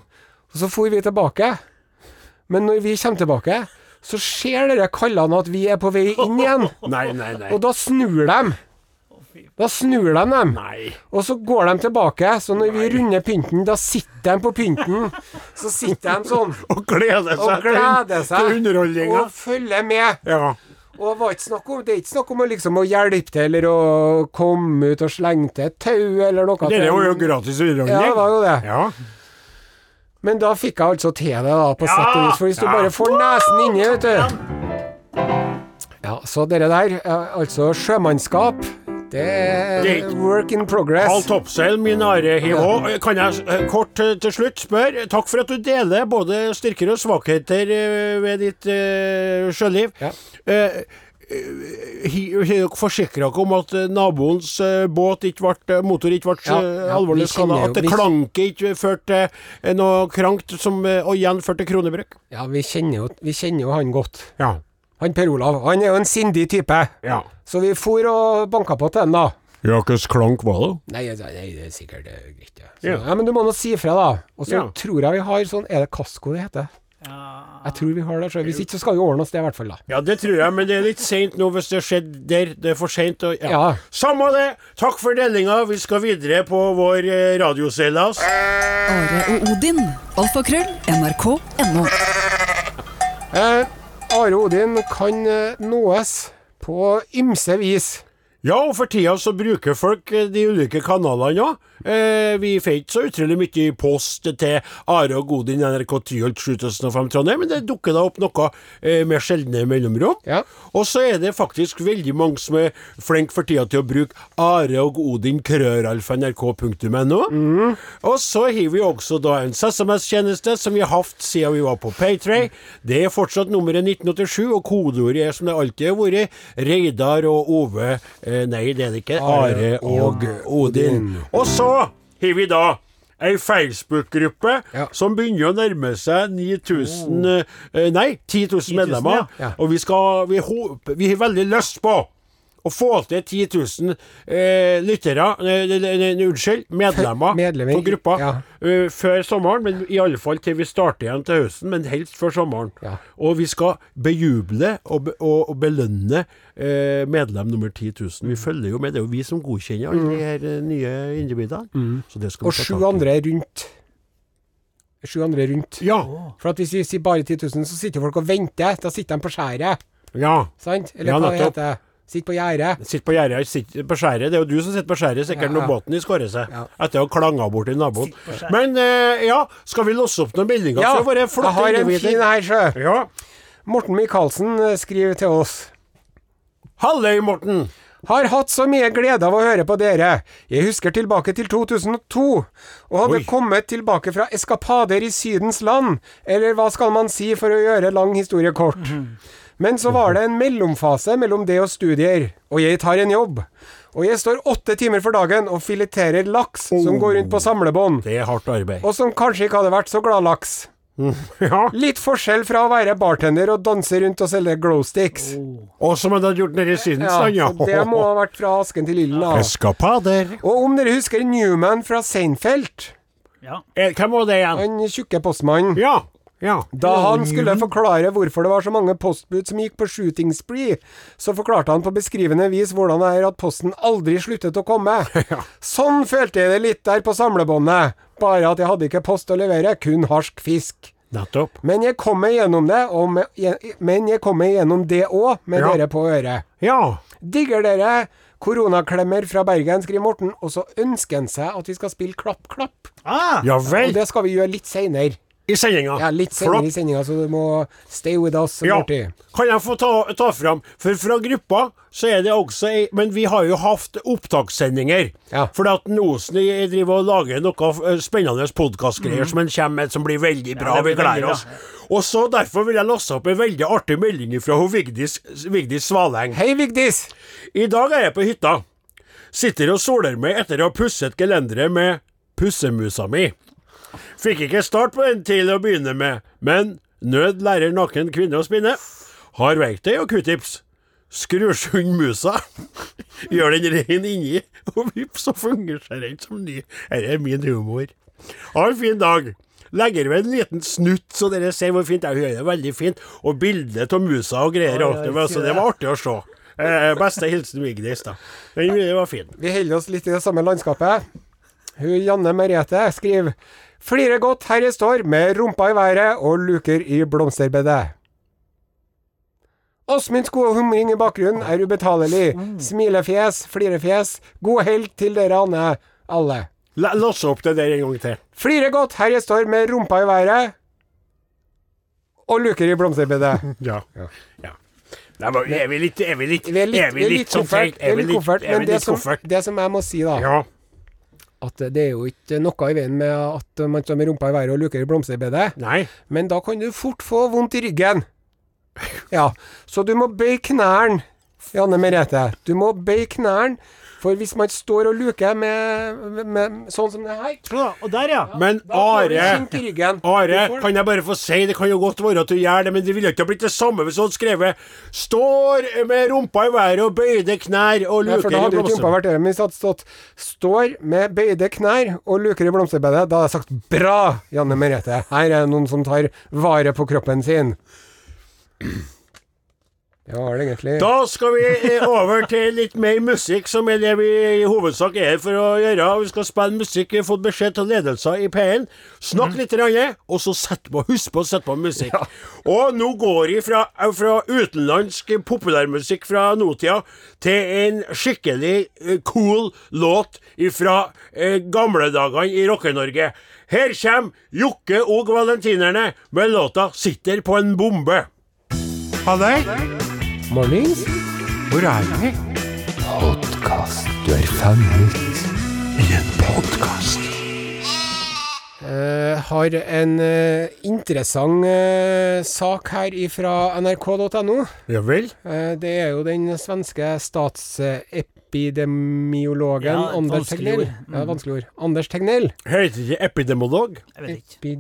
[SPEAKER 2] Og så for vi tilbake. Men når vi kommer tilbake, så ser dere kallene at vi er på vei inn igjen.
[SPEAKER 3] *laughs* Nei, nei, nei.
[SPEAKER 2] Og da snur de. Da snur de dem.
[SPEAKER 3] Nei.
[SPEAKER 2] Og så går de tilbake. Så når vi runder pynten, da sitter de på pynten. Så sitter de sånn
[SPEAKER 3] Og glede seg,
[SPEAKER 2] og
[SPEAKER 3] til-
[SPEAKER 2] gleder seg.
[SPEAKER 3] til underholdninga.
[SPEAKER 2] Og følger med.
[SPEAKER 3] Ja.
[SPEAKER 2] Og var ikke snakk om, det er ikke snakk om å, liksom, å hjelpe til, eller å komme ut og slenge til et tau, eller noe. til
[SPEAKER 3] Dere var jo
[SPEAKER 2] en-
[SPEAKER 3] gratis
[SPEAKER 2] Ja, det var
[SPEAKER 3] underholdning.
[SPEAKER 2] jo det.
[SPEAKER 3] Ja.
[SPEAKER 2] Men da fikk jeg altså til det, da, på
[SPEAKER 3] Ja!
[SPEAKER 2] sett og vis. For hvis du
[SPEAKER 3] Ja.
[SPEAKER 2] bare får nesen inni, vet du. Ja, så dere der, eh, altså sjømannskap, det
[SPEAKER 3] Det er
[SPEAKER 2] er
[SPEAKER 3] ikke-
[SPEAKER 2] work in progress.
[SPEAKER 3] Pal Topseil, min are Hivå. Kan jeg eh, kort eh, til slutt spørre? Takk for at du deler både styrker og svakheter eh, ved ditt eh, sjøliv.
[SPEAKER 2] Ja.
[SPEAKER 3] Eh, Har dere forsikra dere om at eh, naboens eh, båt ikke ble, motor ikke ble
[SPEAKER 2] Ja, ja, vi
[SPEAKER 3] alvorlig skada?
[SPEAKER 2] kjenner jo-
[SPEAKER 3] At det
[SPEAKER 2] vi-
[SPEAKER 3] klanket ikke førte til eh, noe krankt som eh, og igjen førte til kronebruk?
[SPEAKER 2] Ja, vi kjenner, jo, vi kjenner jo han godt.
[SPEAKER 3] Ja.
[SPEAKER 2] Han Per Olav. Han er jo en sindig type.
[SPEAKER 3] Ja.
[SPEAKER 2] Så vi for og banka på til han, da.
[SPEAKER 3] Ja, hvilken klank var det?
[SPEAKER 2] Nei, altså, nei, det er sikkert eh, greit, ja. Så, ja.
[SPEAKER 3] Ja.
[SPEAKER 2] Men du må nå si ifra, da. Og så
[SPEAKER 3] Ja.
[SPEAKER 2] tror jeg vi har sånn Er det Kasko det heter? Jeg tror vi har det. Så. Hvis ikke, så skal vi ordne oss det, i hvert fall. da
[SPEAKER 3] Ja, det tror jeg, men det er litt seint nå hvis det skjedde der. Det er for seint. å- Ja.
[SPEAKER 2] Ja.
[SPEAKER 3] Samme det! Takk for delinga. Vi skal videre på vår eh, radioseilas.
[SPEAKER 5] Are og Odin. Alfakrøll. NRK.no.
[SPEAKER 2] Eh, Are Odin kan eh, nåes på ymse vis.
[SPEAKER 3] Ja, og for tida så bruker folk eh, de ulike kanalene òg. Eh, vi får ikke så utrolig mye post til Are og Godin NRK Tyholt 7005 Trondheim, men det dukker da opp noe eh, med sjeldne mellomrom.
[SPEAKER 2] Ja.
[SPEAKER 3] Og så er det faktisk veldig mange som er flinke for tida til å bruke Are og Odin krøralfa.nrk.no. Og så har vi også da en SMS-tjeneste som vi har hatt siden vi var på Paytray. Det er fortsatt nummeret 1987, og kodeordet er som det alltid har vært, Reidar og Ove eh, Nei, det er det ikke. Are og Odin. Og så har vi da Ei Facebook-gruppe
[SPEAKER 2] Ja.
[SPEAKER 3] som begynner å nærme seg 9000 eh, Nei, 10 000 medlemmer.
[SPEAKER 4] ja.
[SPEAKER 3] Og vi skal Vi håper Vi har veldig lyst på å få til 10 000 eh, lyttere nei, nei, nei, nei, Unnskyld, medlemmer,
[SPEAKER 2] Medlemmer,
[SPEAKER 3] på gruppa
[SPEAKER 2] ja.
[SPEAKER 3] eh, før sommeren. Men i alle fall til vi starter igjen til høsten, men helst før sommeren.
[SPEAKER 2] Ja.
[SPEAKER 3] Og vi skal bejuble og, be, og, og belønne eh, medlem nummer 10 000.
[SPEAKER 2] Mm.
[SPEAKER 3] Vi følger jo med. Det er jo vi som godkjenner alle de her eh, nye individene. Så det
[SPEAKER 2] Mm.
[SPEAKER 3] skal
[SPEAKER 2] Og
[SPEAKER 3] vi ta
[SPEAKER 2] sju
[SPEAKER 3] tak i.
[SPEAKER 2] andre rundt. Sju andre rundt.
[SPEAKER 3] Ja.
[SPEAKER 2] For at hvis vi sier bare 10 000, så sitter folk og venter. Da sitter de på skjæret,
[SPEAKER 3] ja.
[SPEAKER 2] sant? Eller
[SPEAKER 3] Ja,
[SPEAKER 2] hva det
[SPEAKER 3] nettopp.
[SPEAKER 2] heter Sitter på gjerdet.
[SPEAKER 3] Sitt på gjerdet, sitt på skjæret. Det er jo du som sitter på skjæret, sikkert
[SPEAKER 2] Ja, ja.
[SPEAKER 3] når båten din skårer seg.
[SPEAKER 2] Ja.
[SPEAKER 3] Etter å ha klanga borti naboen.
[SPEAKER 4] Sitt på skjæret.
[SPEAKER 3] Men eh, ja, skal vi låse opp noen meldinger fra våre
[SPEAKER 2] jeg
[SPEAKER 3] flotte
[SPEAKER 2] har en fin
[SPEAKER 3] individer?
[SPEAKER 2] her, sjø.
[SPEAKER 3] Ja.
[SPEAKER 2] Morten Michaelsen eh, skriver til oss.
[SPEAKER 3] Halløy, Morten.
[SPEAKER 2] Har hatt så mye glede av å høre på dere. Jeg husker tilbake til 2002, og hadde
[SPEAKER 3] Oi.
[SPEAKER 2] kommet tilbake fra eskapader i Sydens land, eller hva skal man si for å gjøre lang historie kort. Men så var det en mellomfase mellom det og studier, og jeg tar en jobb. Og jeg står åtte timer for dagen og fileterer laks som går rundt
[SPEAKER 3] Oh.
[SPEAKER 2] på samlebånd,
[SPEAKER 3] Det er hardt arbeid.
[SPEAKER 2] og som kanskje ikke hadde vært så glad laks.
[SPEAKER 3] Mm, *laughs* Ja.
[SPEAKER 2] Litt forskjell fra å være bartender og danse rundt og selge glow sticks.
[SPEAKER 3] Og som han hadde gjort nede i
[SPEAKER 2] Ja,
[SPEAKER 3] Sydensland, Oh. Sånn, ja.
[SPEAKER 2] så det må ha vært fra asken til ilden. da.
[SPEAKER 3] *laughs* Eskapader.
[SPEAKER 2] Og om dere husker Newman fra Seinfeld,
[SPEAKER 4] Ja.
[SPEAKER 3] Eh, Hvem var det igjen?
[SPEAKER 2] han tjukke postmannen.
[SPEAKER 3] Ja. Ja.
[SPEAKER 2] Da han skulle forklare hvorfor det var så mange postbud som gikk på shooting spree, så forklarte han på beskrivende vis hvordan det er at posten aldri sluttet å
[SPEAKER 3] *laughs*
[SPEAKER 2] komme. Sånn følte jeg det litt der på samlebåndet, bare at jeg hadde ikke post å levere, kun harsk fisk.
[SPEAKER 3] Nettopp.
[SPEAKER 2] Men jeg kom meg gjennom det, og med, men jeg kom meg gjennom det òg, med
[SPEAKER 3] Ja.
[SPEAKER 2] dere på øret.
[SPEAKER 3] Ja.
[SPEAKER 2] Digger dere koronaklemmer fra Bergen, skriver Morten, og så ønsker han seg at vi skal spille klapp, klapp.
[SPEAKER 4] Ah,
[SPEAKER 3] Ja
[SPEAKER 2] Og
[SPEAKER 3] vel.
[SPEAKER 2] det skal vi gjøre litt seinere.
[SPEAKER 3] I sendinga.
[SPEAKER 2] Ja, litt senere i sendinga, så du må stay with us.
[SPEAKER 3] Ja.
[SPEAKER 2] Morty.
[SPEAKER 3] Kan jeg få ta, ta fram? For fra gruppa så er det også ei Men vi har jo hatt opptakssendinger.
[SPEAKER 2] Ja.
[SPEAKER 3] Fordi at Osen i- driver og lager noe eh, spennende
[SPEAKER 2] Mm.
[SPEAKER 3] podkastgreier som en kommer med som blir veldig bra.
[SPEAKER 4] det blir
[SPEAKER 3] vi gleder
[SPEAKER 4] veldig bra.
[SPEAKER 3] oss. Og så Derfor vil jeg laste opp en veldig artig melding fra hun Vigdis, Vigdis Svaleng.
[SPEAKER 2] Hei, Vigdis!
[SPEAKER 3] I dag er jeg på hytta. Sitter og soler meg etter å ha pusset gelenderet med pussemusa mi. Fikk ikke start på den til å begynne med, men nød lærer naken kvinne å spinne. Har verktøy og q-tips. Skrur sund musa, *laughs* gjør den rein inni, og vips, så fungerer den som ny. Dette er min humor. Ha en fin dag. Legger ved en liten snutt, så dere ser hvor fint jeg hører det. Veldig fint. Og bilde av musa og greier.
[SPEAKER 4] Oi, oi,
[SPEAKER 3] og- så det var artig å se. Eh, beste hilsen Vigdis, da. Den var fin.
[SPEAKER 2] Vi holder oss litt i det samme landskapet. Hun Janne Merete skriver Flirer godt her jeg står, med rumpa i været og luker i blomsterbedet. Åsmunds gode humring i bakgrunnen er ubetalelig. Smilefjes, flirefjes. God helg til dere Anne, alle.
[SPEAKER 3] La, lass opp det der en gang til.
[SPEAKER 2] Flirer godt her jeg står med rumpa i været og luker i blomsterbedet.
[SPEAKER 3] Ja. ja. Nei, men er vi litt Er vi litt,
[SPEAKER 2] Vi er litt,
[SPEAKER 3] er vi litt, sånn feil?
[SPEAKER 2] koffert, vi er litt koffert,
[SPEAKER 3] er
[SPEAKER 2] men
[SPEAKER 3] vi
[SPEAKER 2] det
[SPEAKER 3] litt
[SPEAKER 2] som,
[SPEAKER 3] koffert?
[SPEAKER 2] det som jeg må si, da,
[SPEAKER 3] Ja.
[SPEAKER 2] at det er jo ikke noe i veien med at man står med rumpa i været og luker i blomsterbedet,
[SPEAKER 3] Nei. *laughs*
[SPEAKER 2] men da kan du fort få vondt i ryggen. Ja, så du må bøye knærne Janne Merete, du må bøye knærne, for hvis man står og luker med, med, med sånn som det her
[SPEAKER 4] Ja, Og der, ja.
[SPEAKER 3] Men
[SPEAKER 2] får du
[SPEAKER 3] Are
[SPEAKER 2] kink i ryggen.
[SPEAKER 3] Are,
[SPEAKER 2] Du får-
[SPEAKER 3] kan jeg bare få si det kan jo godt være at du gjør det, men det ville ikke ha blitt det samme hvis du hadde skrevet 'Står med rumpa i været og bøyde knær og
[SPEAKER 2] Nei,
[SPEAKER 3] luker
[SPEAKER 2] for da
[SPEAKER 3] i
[SPEAKER 2] hadde jo ikke rumpa
[SPEAKER 3] blomsterbedet'.
[SPEAKER 2] vært der, men hvis det hadde stått 'står med bøyde knær og luker i blomsterbedet', da hadde jeg sagt 'bra, Janne Merete, her er det noen som tar vare på kroppen sin'. Ja, var det egentlig
[SPEAKER 3] Da skal vi eh, over til litt mer musikk, som er det vi i hovedsak er her for å gjøre. Vi skal spille musikk. Vi har fått beskjed til ledelsen i P1. Snakk litt, grann, og så sett på, husk på å sette på musikk. Og nå går jeg fra, eh, fra utenlandsk populærmusikk fra nåtida til en skikkelig eh, cool låt fra eh, gamle dagene i Rocke-Norge. Her kommer Jokke og Valentinerne med låta 'Sitter på en bombe'. Ha det!
[SPEAKER 2] Mornings?
[SPEAKER 3] Hvor er vi?
[SPEAKER 2] Eh, har en eh, interessant eh, sak her ifra nrk.no.
[SPEAKER 3] Ja vel?
[SPEAKER 2] Eh, det er jo den svenske statsepidemiologen
[SPEAKER 4] Ja, et
[SPEAKER 2] Anders
[SPEAKER 4] vanskelig
[SPEAKER 2] Tegnell.
[SPEAKER 4] ord. Mm.
[SPEAKER 2] Ja, vanskelig ord. Anders Tegnell.
[SPEAKER 3] Heter ikke epidemolog?
[SPEAKER 4] Jeg vet ikke.
[SPEAKER 2] Epi,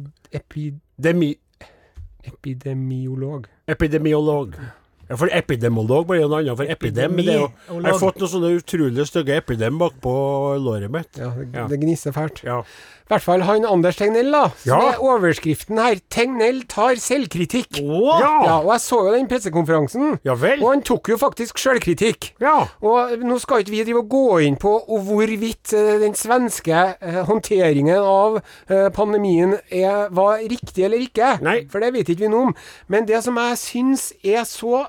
[SPEAKER 2] epi,
[SPEAKER 3] Demi
[SPEAKER 2] epidemiolog.
[SPEAKER 3] epidemiolog. Ja, for epidemolog blir jo noe annet, for epidem men det er jo, Jeg har fått noen sånne utrolig stygge epidem bakpå låret mitt.
[SPEAKER 2] Ja, det,
[SPEAKER 3] Ja.
[SPEAKER 2] det gnisser fælt.
[SPEAKER 3] Ja.
[SPEAKER 2] I hvert fall han Anders Tegnell, da. Som
[SPEAKER 3] Ja.
[SPEAKER 2] er overskriften her. Tegnell tar selvkritikk.
[SPEAKER 4] Å!
[SPEAKER 2] Ja,
[SPEAKER 3] Ja,
[SPEAKER 2] og jeg så jo den pressekonferransen.
[SPEAKER 3] ja vel?
[SPEAKER 2] Og han tok jo faktisk sjølkritikk.
[SPEAKER 3] Ja.
[SPEAKER 2] Og nå skal ikke vi drive og gå inn på og hvorvidt eh, den svenske eh, håndteringen av eh, pandemien er, var riktig eller ikke,
[SPEAKER 3] Nei.
[SPEAKER 2] for det vet ikke vi noe om. Men det som jeg syns er så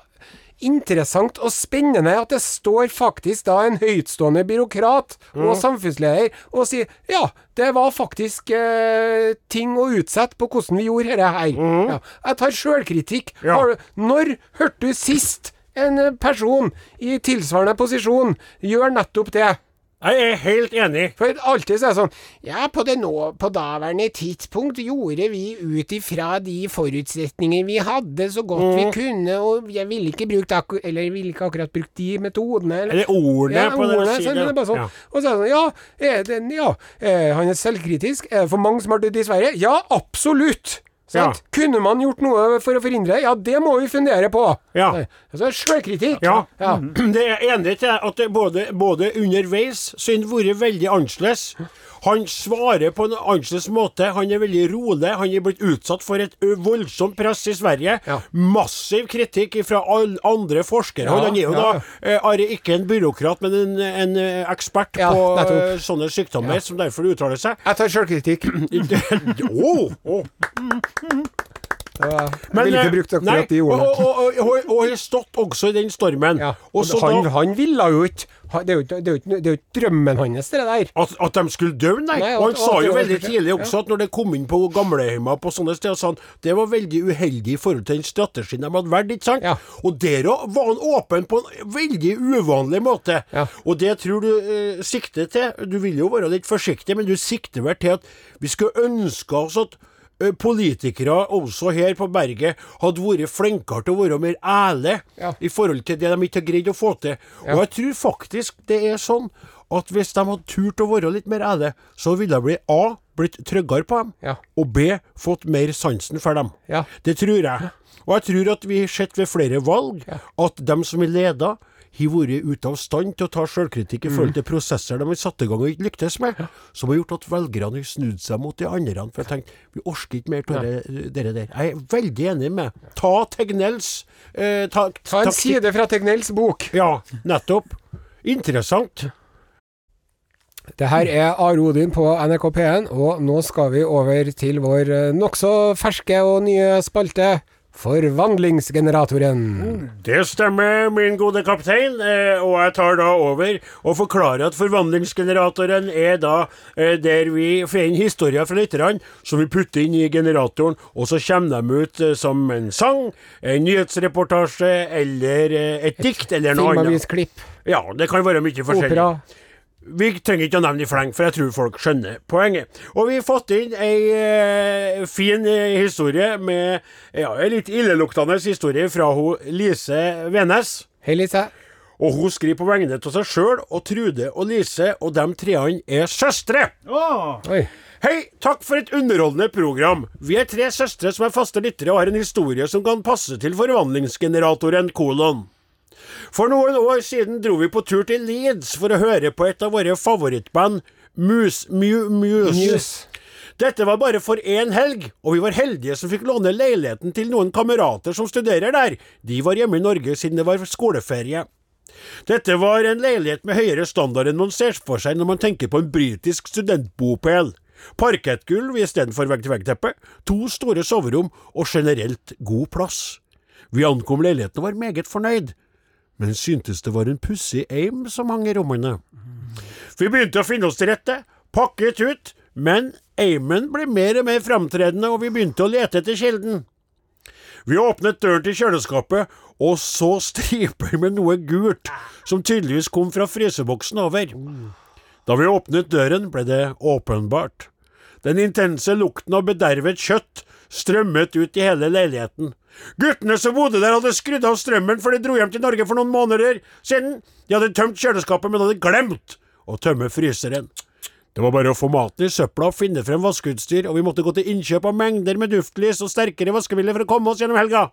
[SPEAKER 2] interessant og spennende, er at det står faktisk da en høytstående byråkrat og samfunnsleder og sier ja, det var faktisk eh, ting å utsette på hvordan vi gjorde dette her. Ja. Jeg tar sjølkritikk.
[SPEAKER 3] Ja.
[SPEAKER 2] Har du- Når hørte du sist en eh, person i tilsvarende posisjon gjør nettopp det?
[SPEAKER 3] Jeg er helt enig.
[SPEAKER 2] For alltid så er det sånn Ja, på det nå, på daværende tidspunkt gjorde vi ut ifra de forutsetninger vi hadde, så godt
[SPEAKER 3] Mm.
[SPEAKER 2] vi kunne, og jeg ville ikke brukt akku- Eller jeg ville ikke akkurat brukt de metodene. eller-
[SPEAKER 3] Eller ordene
[SPEAKER 2] ja,
[SPEAKER 3] på den
[SPEAKER 2] ordene, sånn,
[SPEAKER 3] siden.
[SPEAKER 2] det er bare sånn.
[SPEAKER 3] Ja.
[SPEAKER 2] Og så er det sånn, ja, er den, ja eh, han er selvkritisk. Er det for mange som har dødd i Sverige? Ja, absolutt! Sant? Kunne man gjort noe for å forhindre det? Ja, det må vi fundere på!
[SPEAKER 3] Ja.
[SPEAKER 2] Nei, Altså, Sjølkritikk!
[SPEAKER 3] Ja,
[SPEAKER 2] Ja.
[SPEAKER 3] *clears throat* det er jeg enig til at det både, både underveis så har han vært veldig annerledes. Han svarer på en annerledes måte. Han er veldig rolig. Han er blitt utsatt for et ø, voldsomt press i Sverige.
[SPEAKER 2] Ja.
[SPEAKER 3] Massiv kritikk fra alle andre forskere.
[SPEAKER 2] Ja,
[SPEAKER 3] han er jo
[SPEAKER 2] ja.
[SPEAKER 3] da eh, Are, ikke en byråkrat, men en, en eh, ekspert
[SPEAKER 2] Ja,
[SPEAKER 3] på eh,
[SPEAKER 2] nettopp.
[SPEAKER 3] sånne sykdommer, som derfor uttaler seg.
[SPEAKER 2] Jeg tar sjølkritikk.
[SPEAKER 3] Åh, åh.
[SPEAKER 2] Jeg ville ikke
[SPEAKER 3] eh,
[SPEAKER 2] brukt akkurat
[SPEAKER 3] nei,
[SPEAKER 2] de ordene.
[SPEAKER 3] Og, og, og, og, og har stått også i den stormen.
[SPEAKER 2] Ja.
[SPEAKER 3] Og så
[SPEAKER 2] han,
[SPEAKER 3] da,
[SPEAKER 2] han ville jo ikke han- Det er jo ikke- det er jo ikke det er jo ikke drømmen hans, det der.
[SPEAKER 3] At, at de skulle dø, nei.
[SPEAKER 2] Nei,
[SPEAKER 3] og han
[SPEAKER 2] at-
[SPEAKER 3] sa
[SPEAKER 2] at det
[SPEAKER 3] jo
[SPEAKER 2] var
[SPEAKER 3] veldig
[SPEAKER 2] først, ja.
[SPEAKER 3] tidlig også at når det kom inn på gamlehjemma på sånne steder, sa han det var veldig uheldig i forhold til den strategien de hadde valgt, ikke sant?
[SPEAKER 2] Ja.
[SPEAKER 3] Og der òg var han åpen på en veldig uvanlig måte.
[SPEAKER 2] Ja.
[SPEAKER 3] Og det jeg tror du eh, sikter til Du vil jo være litt forsiktig, men du sikter vel til at vi skulle ønske oss at eh, Politikere også her på berget hadde vært flinkere til å være mer ærlige
[SPEAKER 2] Ja.
[SPEAKER 3] i forhold til det de ikke har greid å få til. Og jeg tror faktisk det er sånn at hvis de hadde turt å være litt mer ærlige, så ville det bli A. blitt tryggere på dem,
[SPEAKER 2] Ja.
[SPEAKER 3] og B. fått mer sansen for dem.
[SPEAKER 2] Ja.
[SPEAKER 3] Det tror jeg. Og jeg tror at vi har sett ved flere valg at dem som er leda, har vært ute av stand til å ta sjølkritikk i
[SPEAKER 2] Mm.
[SPEAKER 3] forhold til prosesser de har satt i gang og ikke lyktes med, som har gjort at velgerne har snudd seg mot de andre. For jeg tenkte vi orker ikke mer av det dere der. Jeg er veldig enig med Ta Tegnells eh, ta,
[SPEAKER 2] Ta en
[SPEAKER 3] taktikk.
[SPEAKER 2] side fra Tegnells bok.
[SPEAKER 3] Ja, nettopp. Interessant.
[SPEAKER 2] Det her er Are Odin på NRK P1, og nå skal vi over til vår eh, nokså ferske og nye spalte, Forvandlingsgeneratoren.
[SPEAKER 3] Det stemmer, min gode kaptein, eh, og jeg tar da over og forklarer at forvandlingsgeneratoren er da eh, der vi finner historier fra lytterne som vi putter inn i generatoren, og så kommer de ut eh, som en sang, en nyhetsreportasje eller eh, et dikt eller noe annet.
[SPEAKER 2] Filmavisklipp,
[SPEAKER 3] Ja, det kan være mye forskjellig.
[SPEAKER 2] opera.
[SPEAKER 3] Vi trenger ikke å nevne i fleng, for jeg tror folk skjønner poenget. Og vi har fått inn ei eh, fin eh, historie med ja, ei litt illeluktende historie fra ho Lise Venes.
[SPEAKER 2] Hei, Lise.
[SPEAKER 3] Og hun skriver på vegne av seg sjøl og Trude og Lise, og de treene er søstre.
[SPEAKER 4] Åh,
[SPEAKER 2] Oi.
[SPEAKER 3] Hei, takk for et underholdende program. Vi er tre søstre som er faste lyttere og har en historie som kan passe til forvandlingsgeneratoren kolon. For noen år siden dro vi på tur til Leeds for å høre på et av våre favorittband, Mus Mew Muse.
[SPEAKER 2] Muse.
[SPEAKER 3] Dette var bare for én helg, og vi var heldige som fikk låne leiligheten til noen kamerater som studerer der. De var hjemme i Norge siden det var skoleferie. Dette var en leilighet med høyere standard enn man ser for seg når man tenker på en britisk studentbopel. Parkettgulv istedenfor vegg-til-vegg-teppe, to store soverom og generelt god plass. Vi ankom leiligheten og var meget fornøyd, men syntes det var en pussig eim som hang i rommene. Vi begynte å finne oss til rette, pakket ut, men eimen ble mer og mer framtredende, og vi begynte å lete etter kilden. Vi åpnet døren til kjøleskapet og så striper med noe gult, som tydeligvis kom fra fryseboksen over. Da vi åpnet døren, ble det åpenbart. Den intense lukten av bedervet kjøtt strømmet ut i hele leiligheten. Guttene som bodde der, hadde skrudd av strømmen, for de dro hjem til Norge for noen måneder siden. De hadde tømt kjøleskapet, men hadde glemt å tømme fryseren. Det var bare å få maten i søpla og finne frem vaskeutstyr, og vi måtte gå til innkjøp av mengder med duftlys og sterkere vaskemidler for å komme oss gjennom helga.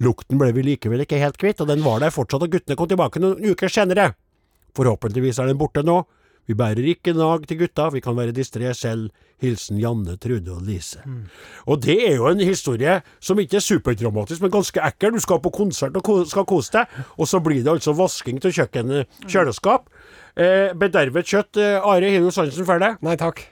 [SPEAKER 3] Lukten ble vi likevel ikke helt kvitt, og den var der fortsatt, og guttene kom tilbake noen uker senere. Forhåpentligvis er den borte nå. Vi bærer ikke nag til gutta, vi kan være distré selv. Hilsen Janne, Trude og Lise. Og det er jo en historie som ikke er superdramatisk, men ganske ekkel. Du skal på konsert og ko skal kose deg, og så blir det altså vasking av kjøkkenet, kjøleskap. Eh, bedervet kjøtt. Eh, Are har jo sansen for det.
[SPEAKER 2] Nei takk.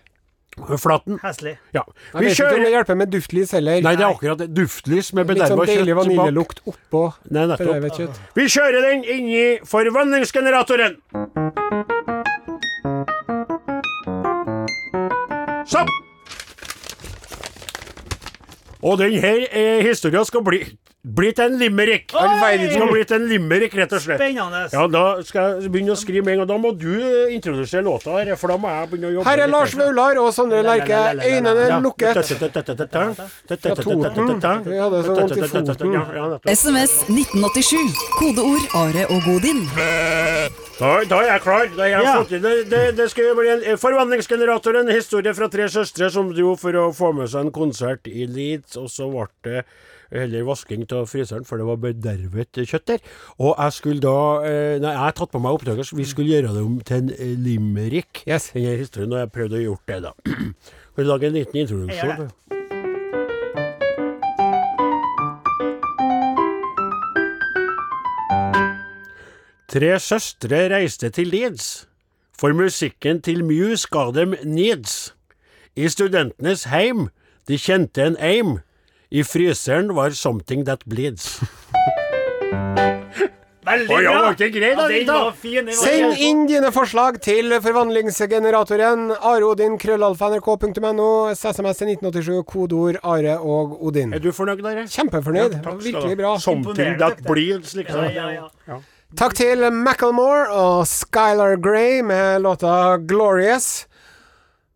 [SPEAKER 3] Flatten.
[SPEAKER 4] heslig.
[SPEAKER 3] Ja.
[SPEAKER 2] Jeg vet
[SPEAKER 3] Vi
[SPEAKER 2] ikke om det
[SPEAKER 3] kjører
[SPEAKER 2] hjelper med duftlys heller.
[SPEAKER 3] Nei, det er akkurat det. Duftlys med
[SPEAKER 2] Litt sånn
[SPEAKER 3] bederva kjøtt.
[SPEAKER 2] deilig
[SPEAKER 3] bak.
[SPEAKER 2] vaniljelukt oppå
[SPEAKER 3] Nei, nettopp.
[SPEAKER 2] bedrevet kjøtt.
[SPEAKER 3] Vi kjører den inn i forvandlingsgeneratoren. Stopp! Og den her eh, historien skal bli, bli til en limerick.
[SPEAKER 4] All verden.
[SPEAKER 3] Skal bli til en limerick, rett og slett.
[SPEAKER 4] Spennende.
[SPEAKER 3] Ja, Da skal jeg begynne å skrive med en gang. Da må du eh, introdusere låta, her, for da må jeg begynne å jobbe.
[SPEAKER 2] Her er Lars Vaular og Sondre Lerche. Øynene lukket.
[SPEAKER 3] Fra
[SPEAKER 2] Toten. Vi hadde så vondt i foten.
[SPEAKER 5] SMS 1987. Kodeord Are og Godin.
[SPEAKER 3] Da, da er jeg klar. Da er jeg
[SPEAKER 4] Ja.
[SPEAKER 3] fått i- det, det, det skal jo bli en forvandlingsgenerator, en historie fra tre søstre som dro for å få med seg en konsert i Leeds, og så ble det heller vasking av fryseren, for det var bedervet kjøtt der. Og jeg skulle da eh, Nei, jeg har tatt på meg oppdraget, så vi skulle gjøre det om til en eh, limerick.
[SPEAKER 2] Yes.
[SPEAKER 3] Denne historien, og jeg prøvde å gjøre det, da. *clears throat* Kan du lage en liten
[SPEAKER 4] Jeg gjør
[SPEAKER 3] introduksjon?
[SPEAKER 4] det.
[SPEAKER 3] Tre søstre reiste til Leeds, for musikken til Muse ga dem needs. I studentenes heim, de kjente en aim. I fryseren var something that bleeds.
[SPEAKER 4] Veldig
[SPEAKER 3] Oi, ja,
[SPEAKER 4] bra.
[SPEAKER 3] var ikke grei, da,
[SPEAKER 4] den
[SPEAKER 3] Rita?
[SPEAKER 4] var fin. Den var
[SPEAKER 2] Send
[SPEAKER 4] fin.
[SPEAKER 2] inn dine forslag til forvandlingsgeneratoren areodin.krøllalfa.nrk.no. SMS til 1987, kodeord Are og Odin.
[SPEAKER 3] *laughs* Er du fornøyd, Are?
[SPEAKER 2] Kjempefornøyd.
[SPEAKER 3] Takk skal du ha.
[SPEAKER 2] Virkelig bra.
[SPEAKER 3] Something
[SPEAKER 4] Imponerende,
[SPEAKER 3] that
[SPEAKER 4] takk, det.
[SPEAKER 3] bleeds, liksom.
[SPEAKER 4] Ja, ja, ja.
[SPEAKER 2] Takk til Macklemore og Skylar Grey med låta 'Glorious'.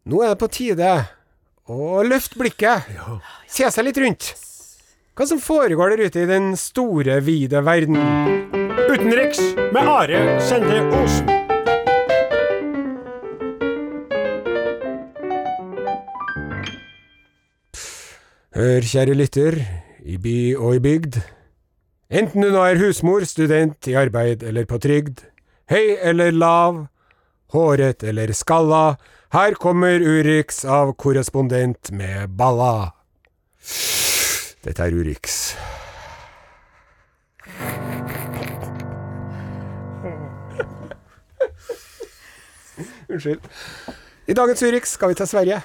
[SPEAKER 2] Nå er det på tide å løfte blikket, se seg litt rundt. Hva som foregår der ute i den store, vide verden?
[SPEAKER 3] Utenriks med Are Sende Osen.
[SPEAKER 2] Hør, kjære lytter, i by og i bygd. Enten du nå er husmor, student, i arbeid eller på trygd, høy eller lav, håret eller skalla, her kommer Urix av korrespondent med balla. Dette er Urix. Unnskyld. I dagens Urix skal vi til Sverige.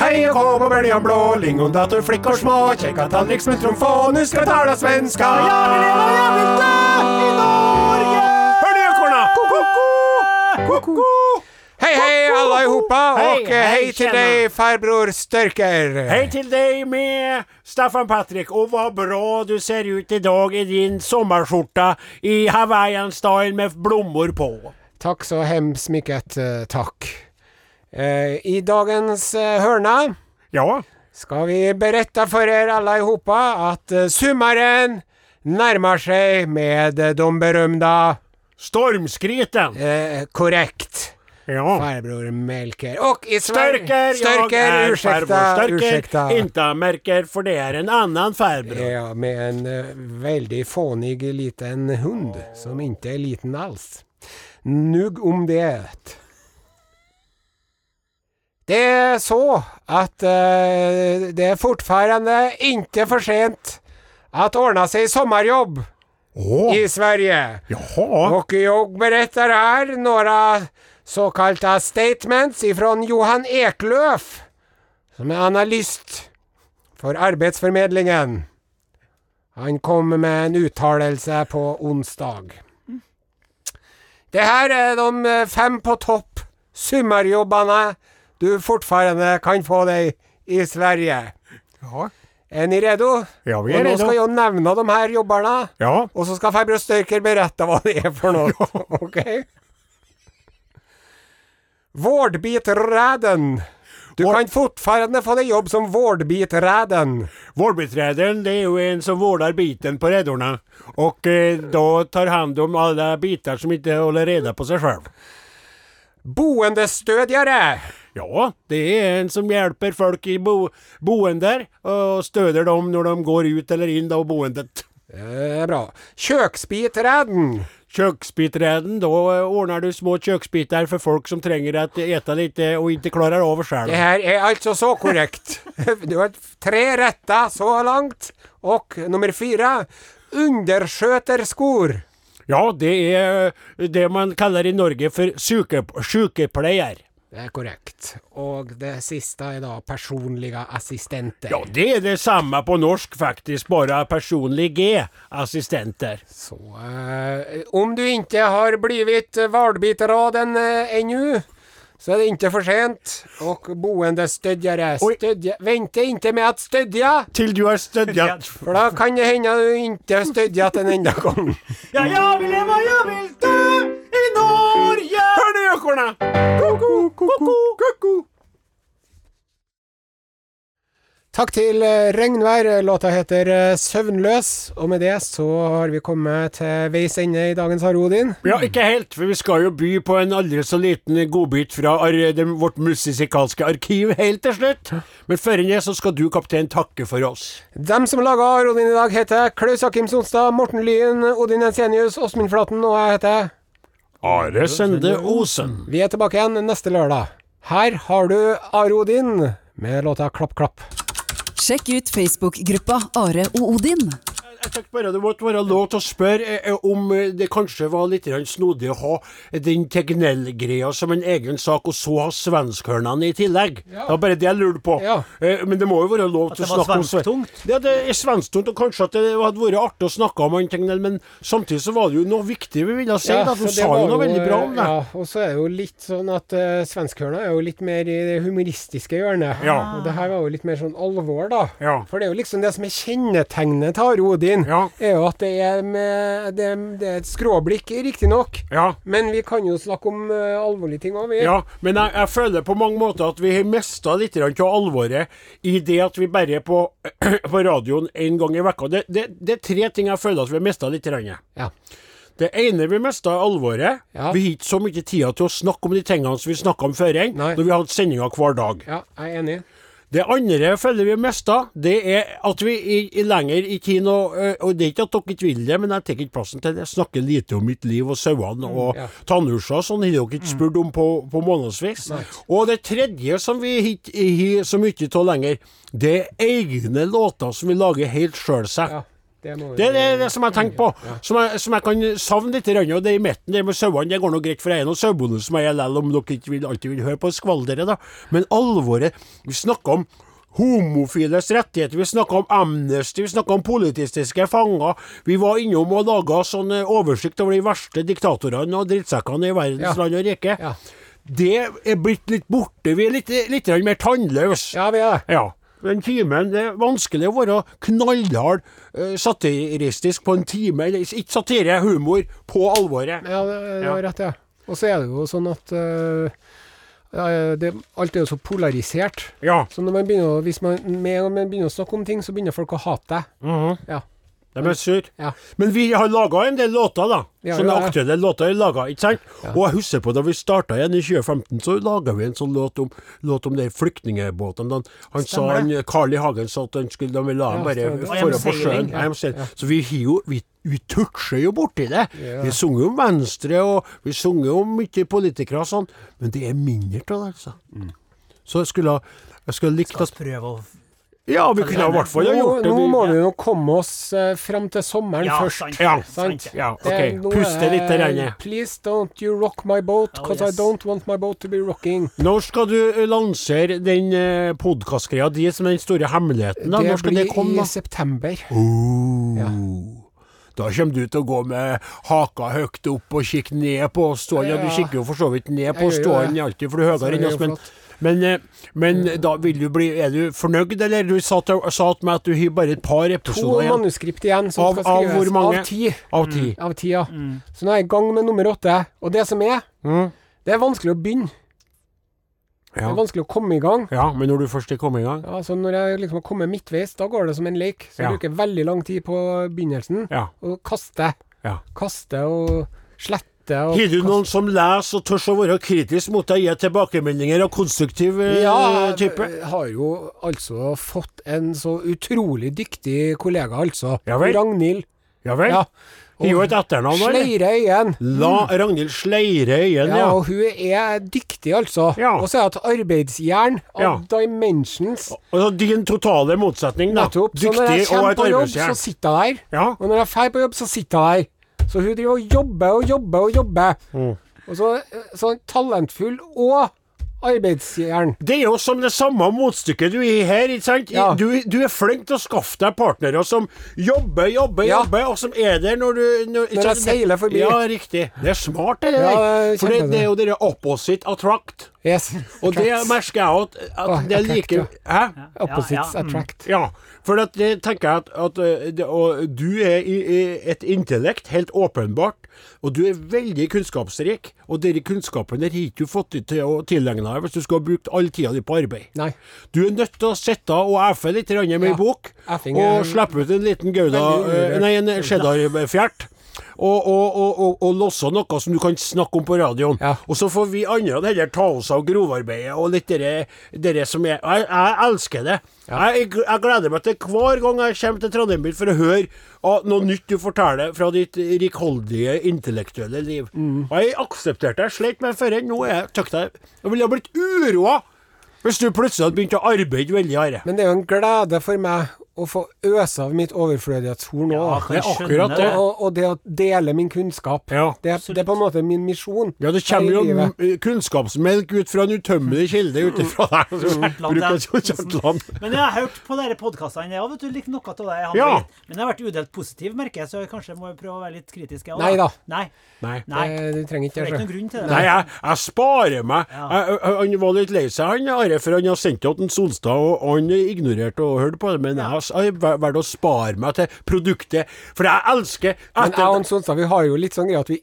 [SPEAKER 2] Hej och kom och bölja blå, lingondator, flickor små, checka tallrik, smultronfå, nu ska vi tala svenska! Ja, vi vill ha jävligt i Norge!
[SPEAKER 3] Hør du, ekorna?
[SPEAKER 2] Ko-ko! Hej, hej allihopa
[SPEAKER 3] Hej,
[SPEAKER 2] och eh, hej
[SPEAKER 3] hej,
[SPEAKER 2] till
[SPEAKER 3] tjena.
[SPEAKER 2] dig farbror Störker!
[SPEAKER 3] Hej till dig med Staffan Patrik och vad bra du ser ut idag i din sommarskjorta i Hawaiian-style med blommor på.
[SPEAKER 2] Tack så hemskt mycket, eh, tack. Eh, I dagens eh, hörna
[SPEAKER 3] Ja.
[SPEAKER 2] ska vi berätta för er allihopa att eh, sommaren nærmer seg med eh, de berømte
[SPEAKER 3] Stormskriten!
[SPEAKER 2] eh, korrekt.
[SPEAKER 3] Ja.
[SPEAKER 2] Farbror Melker. Og i Sverige
[SPEAKER 3] Størker,
[SPEAKER 2] Størker,
[SPEAKER 3] jeg er
[SPEAKER 2] ursäkta,
[SPEAKER 3] farbror
[SPEAKER 2] ursäkta.
[SPEAKER 3] Størker. Inte merker, for det er en annen farbror.
[SPEAKER 2] Ja, med en eh, veldig fånig liten hund, som ikke er liten alls. Nugg om det. Det er så at eh, det er fortfarande ikke for sent att ordna sig sommarjobb
[SPEAKER 3] Åh,
[SPEAKER 2] i Sverige.
[SPEAKER 3] jaha.
[SPEAKER 2] Och jag berättar här några så kallade statements ifrån Johan Eklöf, som är analyst för Arbetsförmedlingen. Han kom med en uttalelse på onsdag. Det här är de eh, fem på topp sommarjobbarna du fortfarande kan få dig i Sverige.
[SPEAKER 3] Ja.
[SPEAKER 2] Är ni redo?
[SPEAKER 3] Ja, vi
[SPEAKER 2] Och
[SPEAKER 3] är
[SPEAKER 2] Nu ska
[SPEAKER 3] redo.
[SPEAKER 2] jag nämna de här jobbarna.
[SPEAKER 3] Ja.
[SPEAKER 2] Och så ska farbror Styrker berätta vad det är för något. Okej? Vårdbiträden. Du
[SPEAKER 3] Vår-
[SPEAKER 2] kan fortfarande få det jobb som vårdbiträden.
[SPEAKER 3] Vårdbiträden det är ju en som vårdar biten på räddorna och eh, då tar hand om alla bitar som inte håller reda på sig själv.
[SPEAKER 2] Boendestödjare.
[SPEAKER 3] Ja, det är en som hjälper folk i bo boender och stöder dem när de går ut eller in av boendet.
[SPEAKER 2] Det är bra. Köksbiträden.
[SPEAKER 3] Köksbiträden, då eh, ordnar du små köksbitar för folk som tränger att äta lite och inte klarar av själv.
[SPEAKER 2] Det här är alltså så korrekt. Du har tre rätta så långt. Och nummer fyra. Undersköterskor.
[SPEAKER 3] Ja, det är eh, det man kallar i Norge för sjuke- sjukepleier.
[SPEAKER 2] Det är korrekt. Och det sista är då personliga assistenter.
[SPEAKER 3] Ja, det är detsamma på norsk faktiskt, bara personlig G, assistenter.
[SPEAKER 2] Så eh, om du ikke har blitt valbiteraden eh, ennå, så er det ikke for sent. Og boendestøttere
[SPEAKER 3] Oi.
[SPEAKER 2] stødje, venter ikke med å støtte,
[SPEAKER 3] Till du har stödjat.
[SPEAKER 2] for da kan det hende du ikke støtter den enda gangen.
[SPEAKER 3] Ja, jag vill leva, jag vill dö i Norge! Hör ni ekorna? Koko, koko, koko.
[SPEAKER 2] Takk til eh, Regnvær. Låta heter eh, Søvnløs. Og med det så har vi kommet til veis ende i dagens Are Odin.
[SPEAKER 3] Ja, ikke helt, for vi skal jo by på en aldri så liten godbit fra ar det, vårt musikalske arkiv helt til slutt. Men før det så skal du, kaptein, takke for oss.
[SPEAKER 2] Dem som laga Are Odin i dag, heter Klaus Akim Sonstad, Morten Lyen, Odin Jensenius, Åsmund Flaten, og jeg heter
[SPEAKER 3] Are Sende Osen.
[SPEAKER 2] Vi er tilbake igjen neste lørdag. Her har du Are Odin med låta 'Klapp, klapp'.
[SPEAKER 5] Sjekk ut Facebook-gruppa Are og Odin.
[SPEAKER 3] Jeg tenkte bare det måtte være lov til å spørre eh, om eh, det kanskje var litt grann snodig å ha den Tegnell-greia som en egen sak, og så ha svenskhørnene i tillegg. Det var bare det jeg lurte på.
[SPEAKER 2] Ja.
[SPEAKER 3] Eh, Men det må jo være lov
[SPEAKER 4] At
[SPEAKER 3] til å
[SPEAKER 4] det var
[SPEAKER 3] snakke om sve-
[SPEAKER 4] svensktungt?
[SPEAKER 3] Ja, det er svensktungt, og kanskje at det hadde vært artig å snakke om han Tegnell, men samtidig så var det jo noe viktig vi ville si. da,
[SPEAKER 2] så
[SPEAKER 3] for
[SPEAKER 2] det
[SPEAKER 3] Du altså, sa
[SPEAKER 2] var eh,
[SPEAKER 3] jo noe veldig bra om det.
[SPEAKER 2] Ja, og så er det jo litt sånn at uh, svenskhjørnet er jo litt mer i det humoristiske hjørnet.
[SPEAKER 3] Ja.
[SPEAKER 2] Og det her var jo litt mer sånn alvor, da.
[SPEAKER 3] Ja.
[SPEAKER 2] For det er jo liksom det som er kjennetegnet til Are Odin,
[SPEAKER 3] Ja.
[SPEAKER 2] er jo at det er, med, det, det er et skråblikk, riktignok.
[SPEAKER 3] Ja.
[SPEAKER 2] Men vi kan jo snakke om eh, alvorlige ting òg, vi.
[SPEAKER 3] Ja, men jeg, jeg føler på mange måter at vi har mista litt grann av alvoret i det at vi bare er på, *clears throat* på radioen én gang i vekka. Det, det, det er tre ting jeg føler at vi har mista litt. Grann.
[SPEAKER 2] Ja.
[SPEAKER 3] Det ene vi mista, er alvoret.
[SPEAKER 2] Ja.
[SPEAKER 3] Vi har ikke så mye tida til å snakke om de tingene som vi snakka om før, enn,
[SPEAKER 2] Nei.
[SPEAKER 3] når vi hadde sendinger hver dag.
[SPEAKER 2] ja, jeg er enig.
[SPEAKER 3] Det andre jeg føler vi har mista, det er at vi i, i lenger i kino ø, Og det er ikke at dere ikke vil det, men jeg tar ikke plassen til det. Jeg snakker lite om mitt liv og sauene og
[SPEAKER 2] Mm, ja. Mm.
[SPEAKER 3] tannhursa og sånn. Har dere ikke spurt om på, på månedsvis? Og det tredje som vi ikke har så mye av lenger, det er egne låter som vi lager helt sjøl seg.
[SPEAKER 2] Ja, det må vi
[SPEAKER 3] Det er det, det som jeg tenker på, som jeg, som jeg kan savne litt. grann, Og det i midten, det med sauene, det går nå greit, for jeg er noen sauebonde som jeg er likevel, om dere ikke vil, alltid vil høre på skvalderet, da. Men alvoret Vi snakker om homofiles rettigheter, vi snakker om amnesty, vi snakker om politistiske fanger. Vi var innom og laga sånn eh, oversikt over de verste diktatorene og drittsekkene i verdens
[SPEAKER 2] Ja.
[SPEAKER 3] land og rike.
[SPEAKER 2] Ja.
[SPEAKER 3] Det er blitt litt borte. Vi er litt, litt grann mer tannløse.
[SPEAKER 2] Ja, vi er det.
[SPEAKER 3] Ja. Den timen, Det er vanskelig å være knallhard eh, satiristisk på en time. eller Ikke satire, humor på alvoret.
[SPEAKER 2] Ja, det, det var
[SPEAKER 3] Ja.
[SPEAKER 2] rett, ja. Og så er det jo sånn at øh, ja, det, alt er jo så polarisert.
[SPEAKER 3] Ja. Mhm.
[SPEAKER 2] Så når man begynner, å- hvis man, med en gang man begynner å snakke om ting, så begynner folk å hate deg. Ja.
[SPEAKER 3] De er sur.
[SPEAKER 2] Ja.
[SPEAKER 3] Men vi har laga en del låter, da.
[SPEAKER 2] Vi har
[SPEAKER 3] Sånne
[SPEAKER 2] jo det.
[SPEAKER 3] aktuelle låter er laga, ikke sant? Og jeg husker på da vi starta igjen i 2015, så laga vi en sånn låt om, låt om de flyktningbåtene. Han, han sa,
[SPEAKER 4] Stemmer
[SPEAKER 3] han, Carl I. Hagen sa at han skulle, de ville ha ham bare
[SPEAKER 2] stemmer.
[SPEAKER 4] I am
[SPEAKER 3] for på sjøen.
[SPEAKER 4] sailing,
[SPEAKER 3] I am sailing. Så vi har jo vi, vi toucher jo borti det. Vi synger om Venstre, og vi synger om mye politikere og sånn, men det er mindre av det, altså. Så jeg skulle, ha- jeg skulle ha likt at
[SPEAKER 4] Prøve å
[SPEAKER 3] Ja, vi kunne ha i hvert fall ha
[SPEAKER 2] Nå,
[SPEAKER 3] gjort det.
[SPEAKER 2] nå
[SPEAKER 3] vi-
[SPEAKER 2] må vi jo komme oss eh, fram til sommeren
[SPEAKER 4] Ja,
[SPEAKER 2] først.
[SPEAKER 4] sant.
[SPEAKER 3] Ja,
[SPEAKER 4] Sant.
[SPEAKER 3] sant. Ja,
[SPEAKER 2] Eh,
[SPEAKER 3] ok.
[SPEAKER 2] nå
[SPEAKER 3] Puste litt,
[SPEAKER 2] er-
[SPEAKER 3] Reine.
[SPEAKER 2] Please don't you rock my boat,
[SPEAKER 4] Oh,
[SPEAKER 2] cause
[SPEAKER 4] yes.
[SPEAKER 2] I don't want my boat to be rocking.
[SPEAKER 3] Når skal du eh, lansere den eh, podkastgreia di som er den store hemmeligheten? da? Når skal det komme?
[SPEAKER 2] blir i
[SPEAKER 3] da?
[SPEAKER 2] september.
[SPEAKER 3] Oh.
[SPEAKER 2] Ja.
[SPEAKER 3] Da kommer du til å gå med haka høyt opp og kikke ned på stålen. Ja. du
[SPEAKER 2] Ja.
[SPEAKER 3] kikker jo for så vidt ned på
[SPEAKER 2] Jeg gjør jo
[SPEAKER 3] stålen
[SPEAKER 2] det.
[SPEAKER 3] alltid, for du
[SPEAKER 2] Så
[SPEAKER 3] er
[SPEAKER 2] det
[SPEAKER 3] høyere enn
[SPEAKER 2] er
[SPEAKER 3] oss.
[SPEAKER 2] jo
[SPEAKER 3] Men, men, eh, men da vil du bli Er du fornøyd, eller? Du sa til, sa til meg at du har bare et par
[SPEAKER 2] To
[SPEAKER 3] episoder igjen.
[SPEAKER 2] manuskript igjen som
[SPEAKER 3] Av-
[SPEAKER 2] skal
[SPEAKER 3] av
[SPEAKER 2] skrives.
[SPEAKER 3] hvor mange? Mm.
[SPEAKER 2] Av ti.
[SPEAKER 3] Av ti.
[SPEAKER 2] Av ti, ja. Så nå er jeg i gang med nummer åtte. Og det som er,
[SPEAKER 3] Mm.
[SPEAKER 2] det er vanskelig å begynne. Det
[SPEAKER 3] Ja.
[SPEAKER 2] er vanskelig å komme i gang.
[SPEAKER 3] ja, men når du først er kommet i gang?
[SPEAKER 2] Ja, så når jeg liksom har kommet midtveis, da går det som en lek. Så
[SPEAKER 3] Ja.
[SPEAKER 2] jeg bruker veldig lang tid på begynnelsen,
[SPEAKER 3] Ja.
[SPEAKER 2] og kaster.
[SPEAKER 3] Ja.
[SPEAKER 2] Kaster og sletter og
[SPEAKER 3] Har du noen som leser og tør å være kritisk mot deg, gi tilbakemeldinger og konstruktiv eh,
[SPEAKER 2] Ja,
[SPEAKER 3] type?
[SPEAKER 2] jeg har jo altså fått en så utrolig dyktig kollega, altså.
[SPEAKER 3] Ja vel.
[SPEAKER 2] Ragnhild.
[SPEAKER 3] Ja vel?
[SPEAKER 2] Ja.
[SPEAKER 3] Har jo et etternavn, da, eller?
[SPEAKER 2] Sleire Øyen.
[SPEAKER 3] La Ragnhild Sleire igjen,
[SPEAKER 2] Ja,
[SPEAKER 3] ja.
[SPEAKER 2] og hun er dyktig, altså.
[SPEAKER 3] Ja.
[SPEAKER 2] Og så er hun et arbeidsjern av
[SPEAKER 3] Ja.
[SPEAKER 2] dimensions.
[SPEAKER 3] Altså din totale motsetning, da.
[SPEAKER 2] Nettopp. Så når
[SPEAKER 3] Dyktig
[SPEAKER 2] jeg
[SPEAKER 3] og
[SPEAKER 2] kommer
[SPEAKER 3] et
[SPEAKER 2] på jobb, så
[SPEAKER 3] arbeidsjern.
[SPEAKER 2] sitter jeg der.
[SPEAKER 3] Ja.
[SPEAKER 2] Og når jeg drar på jobb, så sitter jeg der. Så hun driver og jobber og jobber og jobber.
[SPEAKER 3] Mm.
[SPEAKER 2] Og så sånn talentfull og arbeidsjern.
[SPEAKER 3] Det er jo som det samme motstykket du er her, ikke sant? I-
[SPEAKER 2] Ja.
[SPEAKER 3] Du, du er flink til å skaffe deg partnere som jobber, jobber,
[SPEAKER 2] Ja.
[SPEAKER 3] jobber, og som er der når du Når, ikke
[SPEAKER 2] Når jeg
[SPEAKER 3] sant?
[SPEAKER 2] seiler forbi.
[SPEAKER 3] Ja, riktig. Det er smart, det der.
[SPEAKER 2] Ja, det er
[SPEAKER 3] For det,
[SPEAKER 2] kjempebra.
[SPEAKER 3] det er jo det der opposite attract.
[SPEAKER 2] Yes.
[SPEAKER 3] Og det
[SPEAKER 2] Attracts.
[SPEAKER 3] merker jeg at, at
[SPEAKER 2] Åh,
[SPEAKER 3] det er
[SPEAKER 2] attract,
[SPEAKER 3] like
[SPEAKER 2] ja.
[SPEAKER 3] Hæ?
[SPEAKER 2] Opposites
[SPEAKER 4] Ja, ja, mm.
[SPEAKER 2] attract.
[SPEAKER 3] Ja, for at det tenker jeg at, at eh, det, og du er i, i et intellekt, helt åpenbart, og du er veldig kunnskapsrik, og denne kunnskapen der har ikke du fått til å tilegne deg hvis du skulle ha brukt all tida di på arbeid.
[SPEAKER 2] Nei.
[SPEAKER 3] Du er nødt til å sitte og effe litt grann med ei
[SPEAKER 2] Ja.
[SPEAKER 3] bok,
[SPEAKER 2] Effing er-
[SPEAKER 3] og slippe ut en liten gouda,
[SPEAKER 2] Veldig undervurdert.
[SPEAKER 3] eh, nei, en cheddarfjert. Og, og, og, og, og losse noe som du kan snakke om på radioen.
[SPEAKER 2] Ja.
[SPEAKER 3] Og så får vi andre heller ta oss av grovarbeidet og litt dere, dere som er Jeg, jeg elsker det. Jeg, jeg gleder meg til hver gang jeg kommer til Trondheim by for å høre ah, noe nytt du forteller fra ditt rikholdige intellektuelle liv. Og jeg aksepterte jeg slet med før nå er jeg tøkt jeg Jeg ville ha blitt uroa hvis du plutselig hadde begynt å arbeide veldig harde.
[SPEAKER 2] Men det er jo en glede for meg å få øse av mitt overflødighetshorn
[SPEAKER 4] Ja,
[SPEAKER 2] òg.
[SPEAKER 4] kan jeg
[SPEAKER 3] det er
[SPEAKER 4] skjønne
[SPEAKER 3] akkurat det.
[SPEAKER 2] og, og det å dele min kunnskap.
[SPEAKER 3] Ja.
[SPEAKER 2] Det, er- det er på en måte min misjon.
[SPEAKER 3] Ja, det
[SPEAKER 2] her i
[SPEAKER 3] kommer jo
[SPEAKER 2] livet.
[SPEAKER 3] m- kunnskapsmelk ut fra en utømmelig kilde ut ifra deg.
[SPEAKER 4] Kjartland,
[SPEAKER 3] Bruker
[SPEAKER 4] det.
[SPEAKER 3] jo Kjartland.
[SPEAKER 4] Men jeg har hørt på dere podkastene. Jeg har vet du likt noe av det. Jeg har
[SPEAKER 3] Ja.
[SPEAKER 4] blitt- Men jeg har vært udelt positiv, merker jeg, så jeg kanskje må prøve å være litt kritisk. jeg også.
[SPEAKER 2] Nei da.
[SPEAKER 4] Nei.
[SPEAKER 3] Nei.
[SPEAKER 4] Nei.
[SPEAKER 2] Eh, Du trenger
[SPEAKER 4] Det
[SPEAKER 2] ikke
[SPEAKER 4] er ikke noen
[SPEAKER 2] det.
[SPEAKER 4] grunn til det.
[SPEAKER 3] Nei, jeg, jeg sparer meg.
[SPEAKER 4] Ja.
[SPEAKER 3] Jeg, jeg, han var litt lei seg, han Are, for han har sendt til han Solstad, og han ignorerte og hørte på det. Men jeg har s- jeg har valgt å spare meg til produktet, for jeg elsker
[SPEAKER 2] Men jeg og
[SPEAKER 3] etter,
[SPEAKER 2] han Sonstad vi har jo litt sånn greie at vi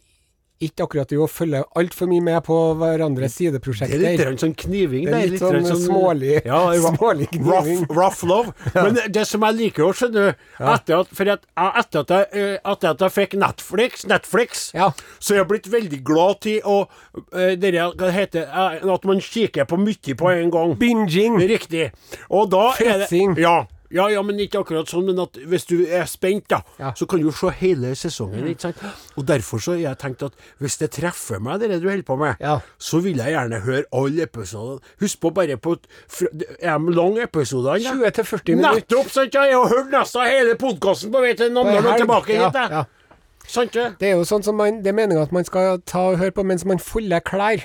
[SPEAKER 2] ikke akkurat driver og følger altfor mye med på hverandres
[SPEAKER 3] Det er litt
[SPEAKER 2] sideprosjekter.
[SPEAKER 3] grann sånn kniving.
[SPEAKER 2] Det er litt sånn
[SPEAKER 3] grann
[SPEAKER 2] smålig-
[SPEAKER 3] ja, ra-
[SPEAKER 2] *laughs* smålig kniving. *laughs*
[SPEAKER 3] Rough, rough love. Men det som jeg liker å skjønne, etter at, for at, jeg- etter at, jeg, eh, etter at jeg fikk Netflix, Netflix
[SPEAKER 2] Ja.
[SPEAKER 3] så jeg har blitt veldig glad til å eh, det der, hva heter, eh, At man kikker på mye på en gang.
[SPEAKER 2] Binging!
[SPEAKER 3] Riktig. Og da er det
[SPEAKER 2] Fetsing.
[SPEAKER 3] ja, ja, ja, men ikke akkurat sånn. Men at hvis du er spent, da,
[SPEAKER 2] Ja. Mm.
[SPEAKER 3] så kan du se hele sesongen. ikke sant? Og derfor så har jeg tenkt at hvis det treffer meg, det du holder på med,
[SPEAKER 2] Ja.
[SPEAKER 3] så vil jeg gjerne høre alle episodene. Husk på bare på fra- Er de lange episodene? da?
[SPEAKER 2] 20 til 40 minutter.
[SPEAKER 3] Nettopp! sant, ja, Jeg har hørt nesten hele podkasten på vei til
[SPEAKER 2] På en
[SPEAKER 3] Namdalen og
[SPEAKER 2] helg.
[SPEAKER 3] tilbake
[SPEAKER 2] Ja,
[SPEAKER 3] hit. jeg.
[SPEAKER 2] ja.
[SPEAKER 3] Sant det?
[SPEAKER 2] Det er jo sånn som man, det er meninga at man skal ta og høre på mens man folder klær.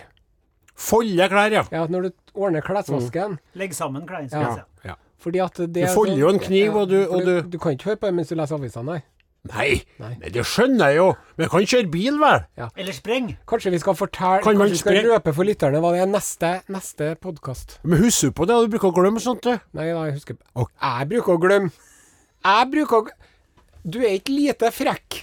[SPEAKER 3] Folde klær, ja.
[SPEAKER 2] Ja, når du ordner klesvasken.
[SPEAKER 4] Legg sammen klærne. skal
[SPEAKER 2] Ja.
[SPEAKER 4] jeg si.
[SPEAKER 3] ja.
[SPEAKER 2] Fordi at det
[SPEAKER 3] Mm. Du
[SPEAKER 2] er
[SPEAKER 3] folder
[SPEAKER 2] sånn-
[SPEAKER 3] jo en kniv, og du-
[SPEAKER 2] for
[SPEAKER 3] og
[SPEAKER 2] du,
[SPEAKER 3] du-
[SPEAKER 2] du kan ikke høre på det mens du leser avisene, nei.
[SPEAKER 3] Nei.
[SPEAKER 2] Nei.
[SPEAKER 3] Nei, det skjønner jeg jo. Men jeg kan kjøre bil, vel?
[SPEAKER 4] Eller spreng.
[SPEAKER 2] Kanskje vi skal fortelle
[SPEAKER 3] Kan man
[SPEAKER 2] Kanskje vi skal
[SPEAKER 3] spre-
[SPEAKER 2] røpe for lytterne hva det er neste, neste podkast.
[SPEAKER 3] Men husk på det, du bruker å glemme sånt, du.
[SPEAKER 2] Nei da, jeg husker
[SPEAKER 3] Ok.
[SPEAKER 2] Jeg bruker å glemme. Jeg bruker å gl- Du er ikke lite frekk.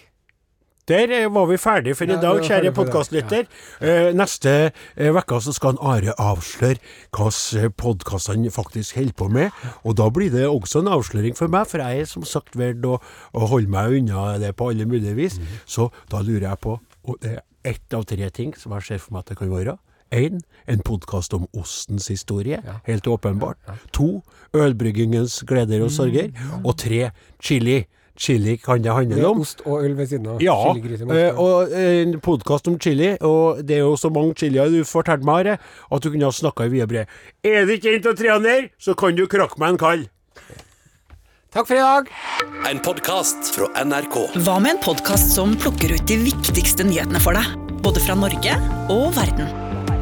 [SPEAKER 3] Der eh, var vi ferdig for i
[SPEAKER 2] Ja,
[SPEAKER 3] dag,
[SPEAKER 2] vi var ferdig
[SPEAKER 3] kjære
[SPEAKER 2] for i dag.
[SPEAKER 3] podkastlytter. Eh, Neste eh, uke så skal han Are avsløre hvilke podkast han faktisk holder på med. Og da blir det også en avsløring for meg, for jeg er som sagt valgt å, å holde meg unna det på alle mulige
[SPEAKER 2] Mhm.
[SPEAKER 3] vis. Så da lurer jeg på og Det er ett av tre ting som jeg ser for meg at det kan være. Én, en podkast om ostens historie, helt åpenbart. To, ølbryggingens gleder
[SPEAKER 2] Mm,
[SPEAKER 3] og sorger. Og tre, chili. Chili kan det handle
[SPEAKER 2] Med
[SPEAKER 3] om.
[SPEAKER 2] ost og øl ved siden av.
[SPEAKER 3] Ja,
[SPEAKER 2] Chili-gryte med ost
[SPEAKER 3] eh,
[SPEAKER 2] og øl.
[SPEAKER 3] og en podkast om chili, og det er jo så mange chilier du fortalte meg, Are, at du kunne ha snakka i vide bred. Er det ikke en av treene her, så kan du krakke meg en kall.
[SPEAKER 2] Takk for i dag!
[SPEAKER 1] En podkast fra NRK.
[SPEAKER 5] Hva med en podkast som plukker ut de viktigste nyhetene for deg? Både fra Norge og verden.